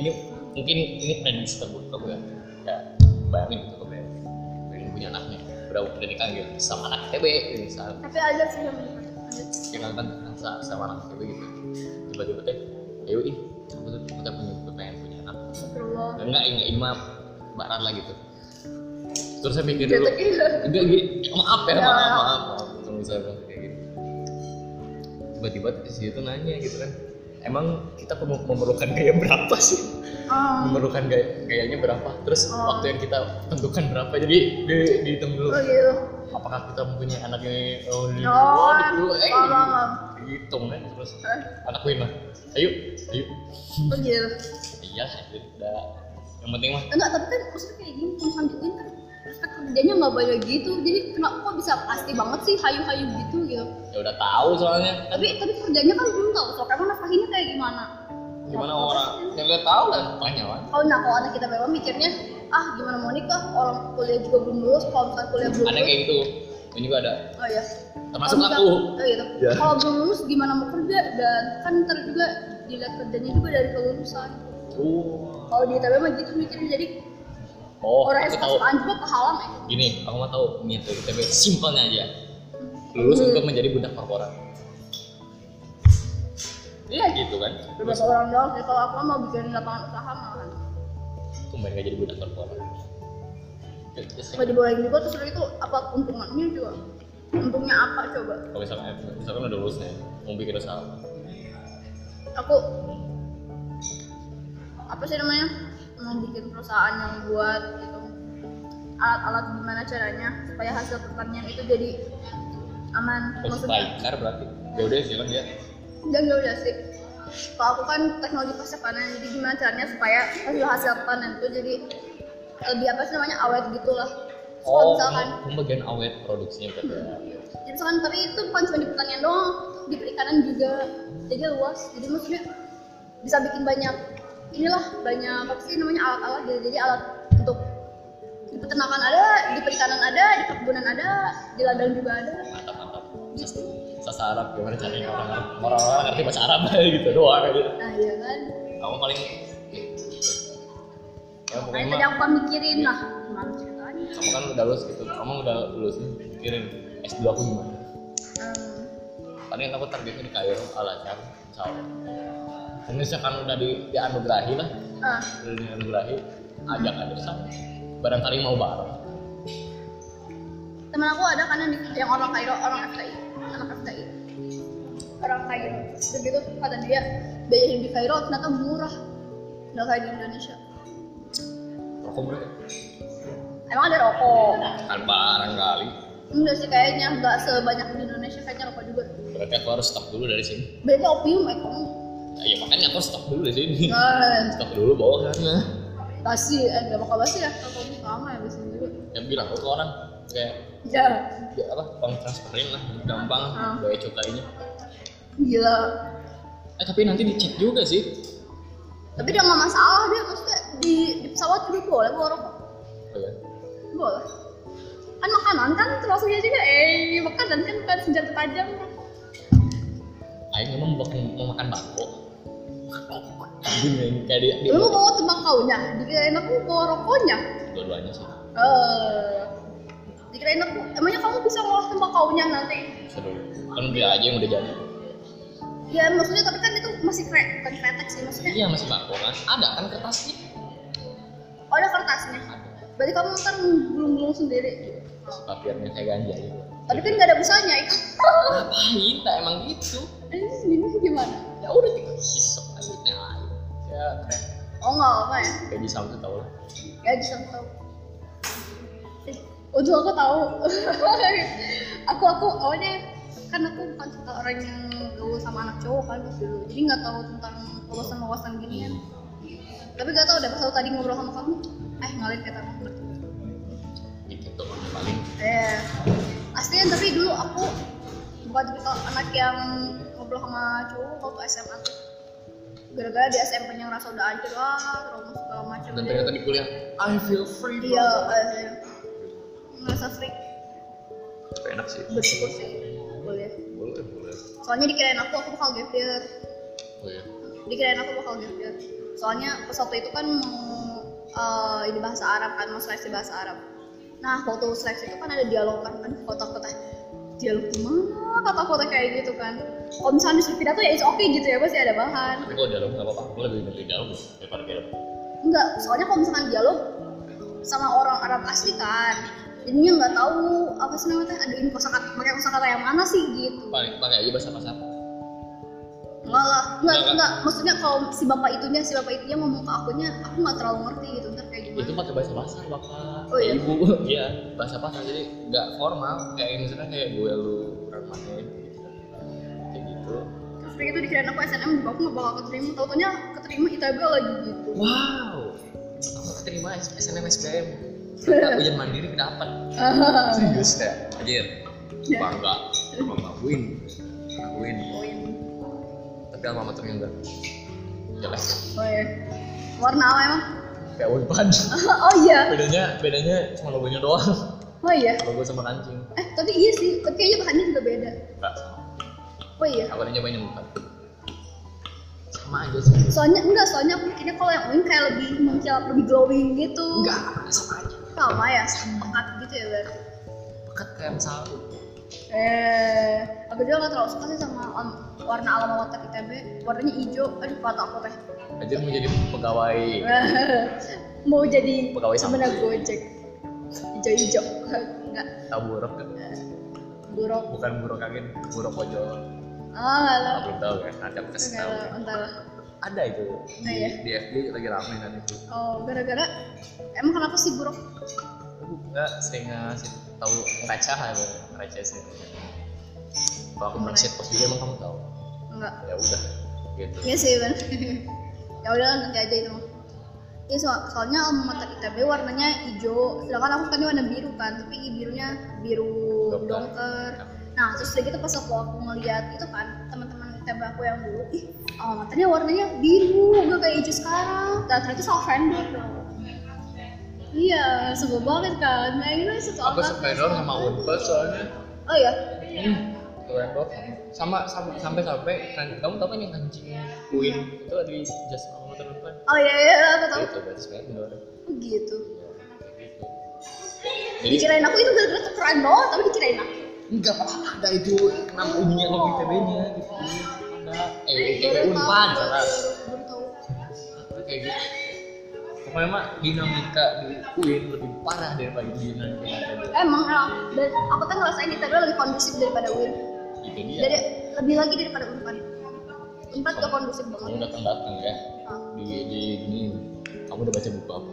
A: Ini mungkin ini prediksi terburuk aku ya. Ya, bayangin gitu aku bayangin. Pengen punya anaknya. Udah udah nikah gitu sama anak TB gitu sama
B: Tapi ada sih yang lanjut.
A: yang kan sa- sama anak TB gitu. Tiba-tiba teh, ayo ih, aku tuh kita punya aku pengen punya anak.
B: Astagfirullah.
A: Enggak, enggak ini mah barat lah gitu. Terus saya mikir dulu.
B: Jatuh, iya.
A: Enggak gini, maaf ya,
B: Ya.
A: maaf, maaf, maaf. Terus saya bilang kayak gitu. Tiba-tiba si itu nanya gitu kan. Emang kita perlu- memerlukan gaya berapa sih?
B: Oh,
A: memerlukan gaya, gayanya berapa terus
B: Oh.
A: waktu yang kita tentukan berapa jadi di, dihitung dulu
B: oh gitu.
A: apakah kita mempunyai anak yang oh, di-
B: Oh,
A: oh, di- oh, eh,
B: paham, paham.
A: dihitung kan terus
B: Eh,
A: anakku ini mah ayo ayo
B: Oh gitu.
A: iya ayo udah yang penting mah
G: enggak tapi kan maksudnya kayak gini kalau sanjuin kan prospek kerjanya nggak banyak gitu jadi kenapa kok bisa pasti banget sih hayu-hayu gitu gitu
A: ya udah tahu soalnya kan
G: tapi tapi kerjanya kan belum tahu so emang nafkahinnya kayak gimana
A: gimana orang yang udah tahu kan tanya kan
G: kalau nah kalau anak kita memang mikirnya ah gimana mau nikah orang kuliah juga belum lulus kalau misalkan kuliah belum
A: ada yang kayak gitu ini juga ada
G: oh iya
A: termasuk
G: Kalau
A: aku
G: misalkan- oh gitu
A: Ya.
G: kalau belum lulus gimana mau kerja dan kan ntar juga dilihat kerjanya juga dari kelulusan
A: oh,
G: kalau di ITB mah gitu mikirnya jadi
A: oh
G: orang yang
A: aku
G: suka
A: tahu
G: sukaan juga kehalang ya
A: gini aku mau tahu niat dari ITB simpelnya aja lulus
G: Hmm.
A: untuk menjadi budak korporat
G: Eh,
A: iya gitu kan
B: Beberapa orang doang sih kalau aku mau bikin lapangan usaha malah.
A: kembali nggak jadi budak korporat Terus, terus,
B: Kalau dibolehin juga terus
G: gitu,
B: udah itu apa keuntungannya juga? Untungnya apa coba?
A: kalau misalkan misalkan udah lulus nih mau bikin usaha
B: aku apa sih namanya mau bikin perusahaan yang buat gitu alat-alat gimana caranya supaya hasil pertanian itu jadi aman
A: terus paikar berarti ya udah sih kan ya
B: dan jauh udah sih kalau aku kan teknologi pasca panen jadi gimana caranya supaya hasil hasil panen itu jadi lebih apa sih namanya awet gitulah kan. kalau
A: oh
G: kan?
B: misalkan
A: pembagian awet produksinya berarti ya.
B: jadi misalkan tapi itu bukan cuma di pertanian doang di perikanan juga jadi luas jadi maksudnya bisa bikin banyak inilah banyak apa sih namanya alat-alat jadi, jadi alat untuk di peternakan ada, di perikanan ada, di perkebunan ada, di ladang juga ada. Gitu.
A: mantap mantap bahasa Arab gimana caranya orang orang orang ngerti bahasa Arab gitu doang gitu
B: Nah iya kan.
A: kamu paling ya
B: Nah
A: pokoknya
B: itu
A: mah,
B: yang aku mikirin lah. Gimana ceritanya?
A: kamu kan udah lulus gitu kamu udah lulus nih mikirin S2 aku gimana paling aku targetnya di Kairo Al Azhar insya Allah Dan misalkan udah di, dianugerahi lah
B: Ah,
A: udah dianugerahi ajak aja sama barangkali mau bareng
B: teman aku ada kan yang, di- yang orang Kairo, orang FKI, anak FKI. Orang Kairo. Terus gitu kata dia biaya hidup di Kairo ternyata murah. Nggak kayak di Indonesia.
A: rokok mereka
B: Emang ada rokok?
A: kan barangkali
B: Enggak sih kayaknya nggak sebanyak di Indonesia kayaknya rokok juga.
A: berarti aku harus stop dulu dari sini
B: Berarti opium eh kamu.
A: Nah, ya makanya aku stop dulu dari sini
B: Eh,
A: stop dulu bawa kan, ya. ke sana
B: basi, eh nggak bakal basi ya? Rokokmu sama ya biasanya juga.
A: yang bilang aku ke orang kayak
B: Ya,
A: ya apa uang transferin lah gampang
B: Ah.
A: bayar cukainya
B: gila.
A: eh tapi nanti dicek juga sih
B: Tapi dia nggak masalah dia maksudnya di, di pesawat juga boleh bawa rokok.
A: oh, ya.
B: Boleh. Kan makanan kan termasuknya juga, eh makanan kan bukan senjata tajam.
A: Aing memang bukan mau makan bangko Anjing, Aing. kayak di, di
B: Lu bawa tembakaunya, dikirain aku bawa rokoknya.
A: dua-duanya sih
B: Eh, dikirain aku, emangnya kamu bisa ngolah tembakaunya nanti?
A: seru kan beli aja yang udah jadi
B: Ya maksudnya tapi kan itu masih kre, bukan kretek sih maksudnya.
A: iya masih bangko kan ada kan kertasnya
B: Oh ada kertasnya. Berarti kamu ntar gulung-gulung sendiri.
A: papirnya kayak ganja gitu
B: Tapi kan nggak ada busanya ya.
A: ngapain tak emang gitu
B: Ini ini gimana?
A: ya udah tinggal hisap aja nyalain ya keren
B: Oh nggak apa ya?
A: kayak di sound tuh tau lah
B: Ya bisa tahu. Eh, Untung aku tahu. aku aku awalnya kan aku bukan suka orang yang gaul sama anak cowok kan pas dulu. Jadi nggak tahu tentang wawasan-wawasan ginian. Tapi gak tahu udah pas aku tadi ngobrol sama kamu, eh ngalir kata kamu berarti.
A: gitu tuh paling
B: Eh, aslinya tapi dulu aku bukan tipikal anak yang ngobrol sama cowok waktu SMA tuh. Gara-gara di SMP nya ngerasa udah hancur lah, trauma segala macam.
A: dan ternyata di kuliah I feel free bro.
B: Iya, eh, ngerasa freak
A: Tapi enak sih
B: bersyukur sih boleh.
A: boleh boleh
B: Soalnya dikirain aku aku bakal gap year,
A: oh iya
B: dikirain aku bakal gap year. Soalnya pas waktu itu kan mau eh, ini bahasa Arab kan mau seleksi bahasa Arab. Nah waktu seleksi itu kan ada dialog kan, kan kotak-kotak dialog gimana kata-kata kayak gitu kan. Kalau misalnya disuruh pidato ya it's okay gitu ya pasti ada bahan.
A: tapi kalau dialog nggak apa-apa aku lebih milih dialog daripada dialog
B: Enggak, soalnya kalau misalkan dialog sama orang Arab asli kan, jadinya nggak tahu apa sih namanya, teh, aduh ini kosakata, pakai kosakata yang mana sih gitu.
A: paling pakai aja bahasa pasar
B: Enggak lah, enggak,
A: Enggak,
B: enggak. Maksudnya kalau si bapak itunya, si bapak itunya ngomong ke akunya, aku nggak terlalu ngerti gitu, ntar kayak gimana.
A: itu pakai bahasa pasar bapak
B: Oh, iya?
A: ibu iya bahasa pasar jadi nggak formal kayak misalnya kayak gue lu orang mana gitu kayak gitu
B: Terus kayak gitu dikirain aku SNM juga, aku nggak bakal keterima. Tau-taunya keterima ITB lagi gitu.
A: wow aku keterima SNM SBM
B: Iya.
A: Ternyata ujian mandiri dapat
B: Ah.
A: serius ya anjir
B: Ya.
A: bangga bangga win win tapi alma maternya enggak jelek
B: Oh iya. Warna apa emang?
A: kayak unpad
B: oh iya,
A: bedanya bedanya cuma logonya doang
B: oh iya.
A: logo sama kancing
B: Eh tapi iya sih, tapi kayaknya bahannya juga beda.
A: enggak sama
B: Oh iya.
A: aku udah nyobain yang unpad sama aja sih
B: soalnya enggak soalnya aku mikirnya kalau yang wing kayak lebih muncul lebih glowing gitu
A: enggak sama aja
B: sama ya pekat gitu ya berarti
A: pekat kayak salu
B: eh aku juga nggak terlalu suka sih sama on- warna alam water ITB warnanya hijau aduh kata aku teh
A: anjir mau jadi pegawai
B: mau jadi
A: Pegawai sama.
B: sebenarnya gojek hijau-hijau enggak
A: tahu buruk kan?
B: buruk
A: bukan buruk angin buruk ojol
B: ah nggak
A: Aku
B: lah
A: belum tahu kan ada aku kasih
B: enggak
A: tahu
B: lah entar lah
A: ada itu
B: Nah,
A: di,
B: iya.
A: di FB lagi rame kan itu
B: oh gara-gara emang kenapa sih buruk
A: aku nggak sering ngasih tahu receh apa receh sih kalau aku meracet pos juga emang kamu tahu
B: enggak
A: ya udah gitu
B: Iya sih benar. ya udah lah, nanti aja itu. Iya so- soalnya alma mater ITB warnanya hijau, sedangkan aku sukanya warna biru kan, tapi birunya biru
A: Dongker.
B: dongker. Nah terus udah gitu pas waktu aku ngeliat itu kan teman-teman
H: ITB aku yang dulu ih
B: Oh, matanya warnanya biru, gak kayak hijau sekarang. Nah, ternyata salah vendor dong. Iya, sebel banget kan. Nah, ini soal
I: Aku sepedor sama Unpad soalnya.
B: Oh iya,
I: Sepedor. Sama sama sampai sampai kan kamu tahu kan yang anjing Uin itu ada di jas sama motor depan.
B: oh iya iya, aku tahu.
A: Itu berarti Iya. sepedor.
B: Oh, gitu.
A: Jadi
B: Dikirain aku itu gara-gara tukeran doang, tapi dikirain aku.
I: Enggak apa ada itu enam unnya sama ITB-nya gitu. Ada eh ITB
B: Baru tahu,
I: Unpad
B: baru-
I: salah.
B: baru tahu.
I: kayak gitu pokoknya mah dinamika di UIN lebih parah daripada di Yunan
B: Emang, emang. Dan aku tuh ngerasain ITB lebih kondusif daripada UIN.
A: itu dia.
B: Dari lebih lagi daripada Unpad. Unpad gak kondusif
A: kamu
B: banget.
A: datang datang ya
B: Ah.
A: di di gini kamu udah baca buku apa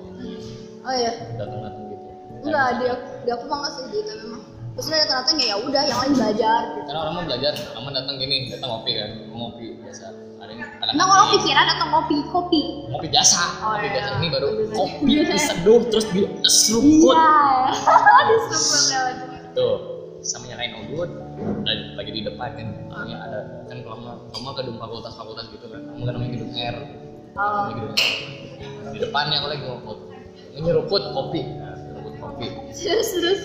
B: Oh iya.
A: datang datang gitu.
B: Enggak, di aku, di aku mah nggak sih di ITB mah. Terus ada ternyata ya udah, yang lain belajar. gitu.
A: Karena orang mah belajar, kamu datang gini, datang ngopi kan, ngopi biasa. Ada ada
B: Nah, kalau pikiran atau kopi kopi.
A: ngopi biasa,
B: Oh,
A: ngopi
B: iya.
A: biasa ini baru
B: Lebih baik.
A: kopi diseduh terus diseruput.
B: Iya. Disuruh lewat.
A: Tuh, sama nyalain ogut dan lagi di depan kan namanya ada kan kalau mah kalau mah gedung fakultas fakultas gitu kan kamu kan namanya gedung R
B: Oh.
A: namanya gedung R. di depannya aku lagi ngopi nyeruput kopi Nah, nyeruput kopi
B: Terus terus.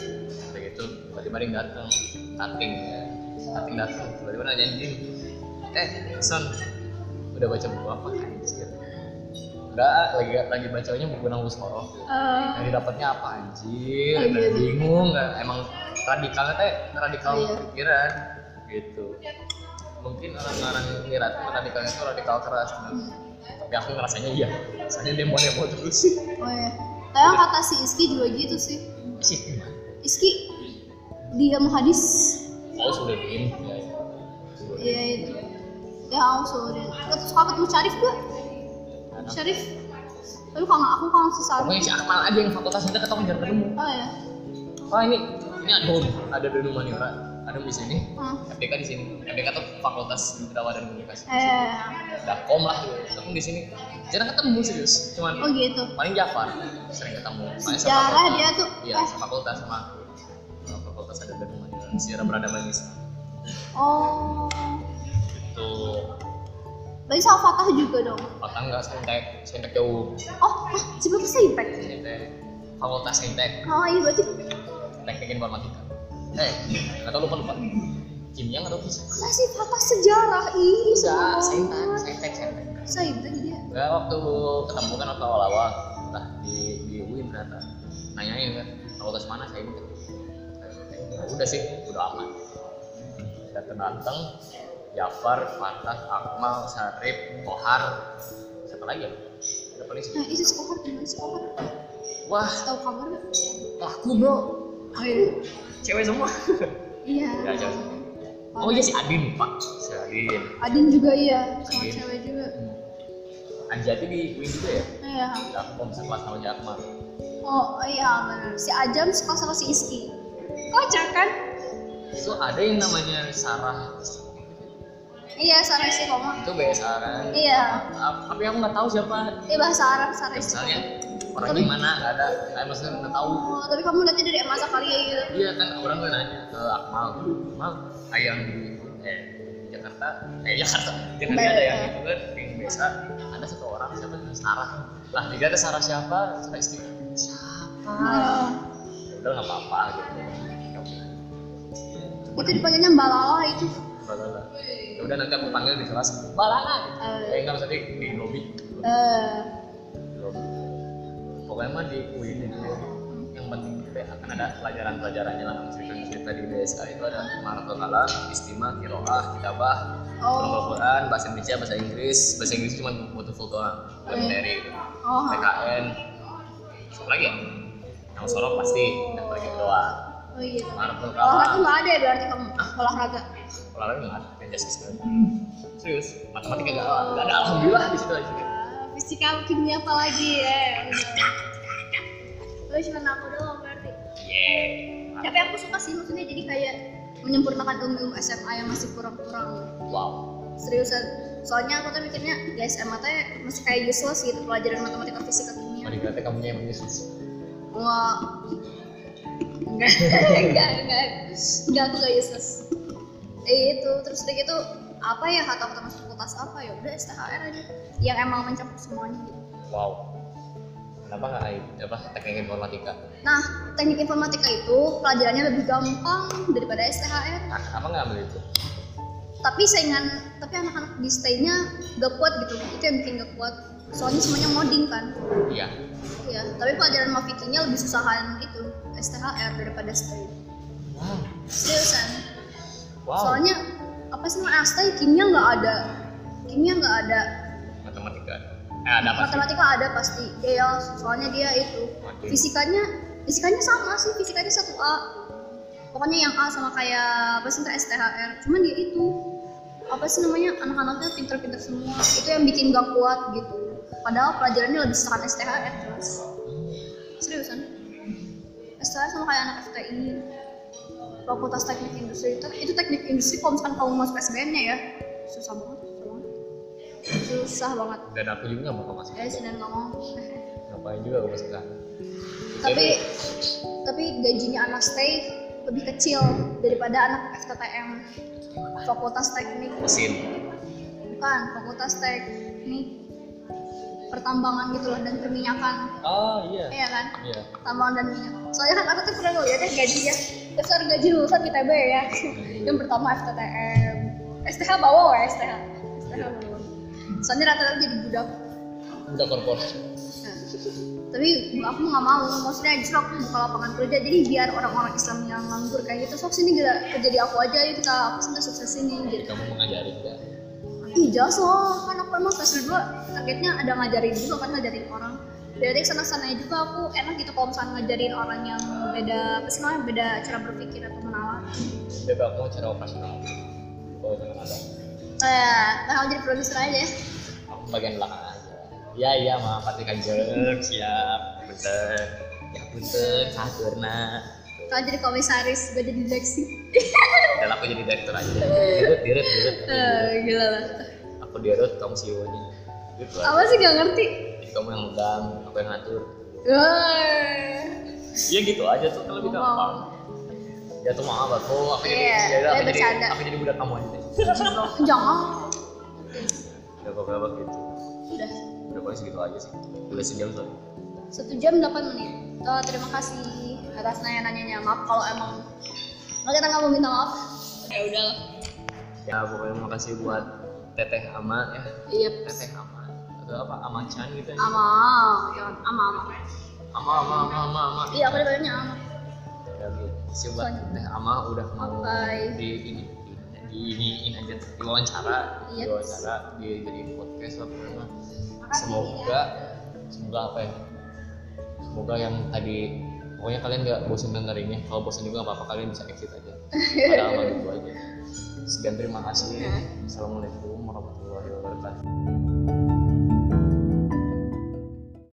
A: Udah gitu tiba-tiba ada yang datang cutting ya cutting datang tiba-tiba nanyain gini eh son udah baca buku apa kan udah ah, lagi lagi bacanya buku nanggus horof
B: Eh,
A: lagi dapatnya apa anjir
B: Oh, iya,
A: Udah
B: iya.
A: bingung nggak emang radikalnya teh radikal
B: Iya.
A: pikiran gitu mungkin orang-orang ngira tuh radikalnya itu radikal keras kan tapi aku ngerasanya iya soalnya demo demo terus
B: oh ya. Tapi yang kata si Iski juga gitu sih.
A: sih gimana
B: Iski di ilmu hadis.
A: oh sudah diem ya, ya.
B: Iya itu. Ya aku sorry. Terus aku ketemu Syarif gua. Syarif. Tapi kalau nggak- aku kalau si Syarif.
A: Pokoknya si Akmal aja yang fakultas kita ketemu jarang ketemu.
B: Oh ya.
A: Wah ini ini ada Donu, ada Donu Maniora, ada di sini. FDK di sini. FDK tuh Fakultas Kebudayaan dan Komunikasi.
B: Eh.
A: Dakom lah, kamu di sini. Jarang ketemu serius, cuman
B: Oh gitu.
A: paling Jafar sering ketemu. Paling
B: Sejarah
A: sefakultas.
B: dia tuh,
A: Iya,
B: eh.
A: fakultas sama aku. Sama Fakultas ada Donu Maniora, sejarah peradaban Islam.
B: Oh.
A: Itu
B: Berarti sama Fatah juga dong.
A: Fatah nggak sentek, sentek jauh.
B: Oh, ah, sebelumnya saya Ipek.
A: Sentek Fakultas Sentek,
B: Oh iya berarti
A: Teknik Informatika. Eh, nggak tahu lupa lupa. Kimia nggak tahu fisika.
B: Masa sih Fatah sejarah? Ih, iya.
A: Bisa,
B: serem
A: sentek,
B: banget.
A: sentek, sentek.
B: Saya Ipek dia.
A: Enggak waktu ketemu kan waktu awal-awal lah di di UIN ternyata nanyain kan fakultas mana saya ikut Ya udah sih udah aman datang datang Jafar Fatah Akmal Sarip Kohar siapa lagi ya ada paling
B: Nah,
A: sedikit
B: itu sekolah gimana sekolah?
A: wah
B: Tahu kabar nggak?
A: aku bro Ayo, cewek semua
B: Iya.
A: ya cewek semua. oh iya si Adin pak si Adin
B: Adin juga iya, sama
A: Adin.
B: cewek juga.
A: Anjati di UIN juga ya
B: Iya.
A: Jakmom sekelas sama Jakmar
B: Oh iya benar. Si Ajam suka sama si Iski. Kocak kan?
A: itu ada yang namanya Sarah
B: Iya, Sarah Iski koma.
A: itu BSA kan
B: Iya.
A: Ah, tapi aku nggak tahu siapa
B: Iya bahasa Arab Sarah
A: ya,
B: Iski.
A: misalnya orangnya
B: Tapi-
A: mana nggak ada saya maksudnya nggak tahu
B: Oh, tapi kamu lihatnya dari masa kali ya gitu.
A: iya kan orang kan nanya ke Akmal Akmal ah, yang di eh Jakarta eh Jakarta Jakarta
B: Baik,
A: ada yang
B: ya.
A: itu kan yang biasa ada satu orang siapa tuh Sarah lah dia ada Sarah siapa Sarah istri siapa
B: Nah,
A: Ya udah nggak apa-apa gitu
B: itu dipanggilnya Mbak Lala itu.
A: Balala ya udah nanti aku panggil di kelas Balala
B: Eh.
A: eh nggak usah di di lobby
B: Eh,
A: pokoknya mah di UIN itu yang penting kita akan ada pelajaran-pelajarannya lah cerita-cerita di BSA itu ada maraton kalam, istimah, kiroah, kitabah,
B: Oh.
A: ulumul Quran, bahasa Indonesia, bahasa Inggris, bahasa Inggris cuma butuh full doang, bukan materi gitu.
B: iya. Oh.
A: PKN, apa lagi ya? Yang sorok pasti, dan lagi doang.
B: oh iya.
A: Maraton
B: Olahraga
A: kalam,
B: nggak ada ya berarti kamu? Olahraga.
A: olahraga nggak ada, yang justice kan. Serius, matematika nggak ada, nggak ada alhamdulillah di situ aja.
B: Ah, Fisika, kimia apa lagi ya?
H: lo cuma aku doang berarti
A: Yeah,
B: Tapi aku suka sih maksudnya jadi kayak menyempurnakan ilmu-ilmu SMA yang masih kurang-kurang
A: wow,
B: seriusan. Soalnya aku tuh mikirnya ya di SMA tuh masih kayak useless gitu pelajaran matematika, fisika,
A: mau
B: kimia.
A: dikata kamu yang menyusus.
B: Wah. Enggak, enggak, enggak. Enggak aku gak useless. Eh itu terus udah gitu apa ya kata kata masuk fakultas apa ya udah STHR aja yang emang mencakup semuanya gitu.
A: Wow. Kenapa nggak AI? Apa teknik informatika?
B: Nah teknik informatika itu pelajarannya lebih gampang daripada STHR
A: Ah, Apa nggak ambil itu?
B: tapi saingan tapi anak-anak di stay-nya gak kuat gitu itu yang bikin gak kuat soalnya semuanya modding kan
A: Iya.
B: iya tapi pelajaran mafikinya lebih gitu. susahan itu STHR daripada stay
A: Wow.
B: seriusan
A: Wow.
B: soalnya apa sih namanya stay kimia nggak ada kimia nggak ada
A: matematika. Eh, ada apa sih?
B: matematika ada pasti ya soalnya dia itu
A: Oke.
B: fisikanya fisikanya sama sih fisikanya satu A pokoknya yang A sama kayak apa sih ntar STHR cuman dia itu apa sih namanya anak-anaknya pinter-pinter semua itu yang bikin gak kuat gitu padahal pelajarannya lebih serat STHR jelas seriusan STHR sama kayak anak FTI fakultas teknik industri itu itu teknik industri kalau misalkan kamu masuk SBM-nya ya susah banget susah banget susah banget
A: Dan aku juga mau masuk.
B: Eh, sedang ngomong.
A: Ngapain juga aku masuk sana.
B: tapi tapi gajinya anak stay lebih kecil daripada anak FTTM fakultas teknik
J: mesin
B: bukan fakultas teknik pertambangan gitu loh dan perminyakan
A: Oh iya.
B: iya kan
A: Iya.
B: pertambangan dan minyak soalnya kan aku tuh pernah ngeliatnya gajinya besar gaji lulusan ITB ya yang pertama FTTM STH bawa ya STH STH bawa soalnya rata-rata jadi budak
A: Udah korporasi.
B: Nah, tapi aku nggak mau maksudnya justru aku buka lapangan kerja jadi biar orang-orang Islam yang nganggur kayak gitu sok sini gila kerja di aku aja itu kak aku sudah sukses ini gitu
A: Kamu mengajari enggak?
B: ih jelas loh kan aku emang semester dua targetnya ada ngajarin juga kan ngajarin orang dari sana sananya juga aku enak gitu kalau misalnya ngajarin orang yang beda apa sih namanya beda cara berpikir atau menalar
A: Bebek mau cara operasional. Oh jangan ada.
B: eh bakal jadi produser aja ya
A: Aku bagian belakang aja. Iya iya maaf pasti kan
J: siap bener
A: Ya punten, saturna.
B: kalau jadi komisaris gue jadi direksi
A: Dan aku jadi direktur aja. Dirut, dirut, dirut.
B: Eh, gila lah
A: Aku dirut, kamu CEO-nya. Gitu lah.
B: apa sih gak ngerti
A: Jadi kamu yang megang, aku yang ngatur.
B: Wah.
A: Iya gitu aja tuh, kan lebih
B: Wow.
A: gampang. Ya tuh maaf aku, aku jadi,
B: Iya,
A: yaudah,
B: saya
A: aku jadi,
B: bercanda.
A: aku jadi budak kamu aja deh.
B: jangan
A: Udah beberapa gitu.
B: udah
A: Udah paling segitu aja sih. Udah sejam soalnya.
B: satu jam 8 menit Eh, terima kasih atas nanya-nanyanya maaf kalau emang nggak kita nggak mau minta maaf ya udahlah
A: Ya pokoknya makasih buat Teteh Ama ya.
B: iya
A: Teteh Ama. Atau apa? Ama Chan gitu ya.
B: ama ya ama
A: Ama,
B: ama
A: Ama, Ama, Ama, Ama.
B: iya aku udah banyak ama
A: Ya, oke. Makasih buat Teteh Ama udah mau
B: Oh, Bye.
A: di ini di iniin aja diwawancara,
B: Iya.
A: diwawancara di jadi podcast lah pokoknya.
B: ya.
A: Semoga semoga apa ya? Semoga yang tadi pokoknya kalian nggak bosan dengerinnya. Kalau bosan juga nggak apa-apa kalian bisa exit aja. Ada sama gitu aja. Sekian terima kasih. Assalamualaikum warahmatullahi wabarakatuh.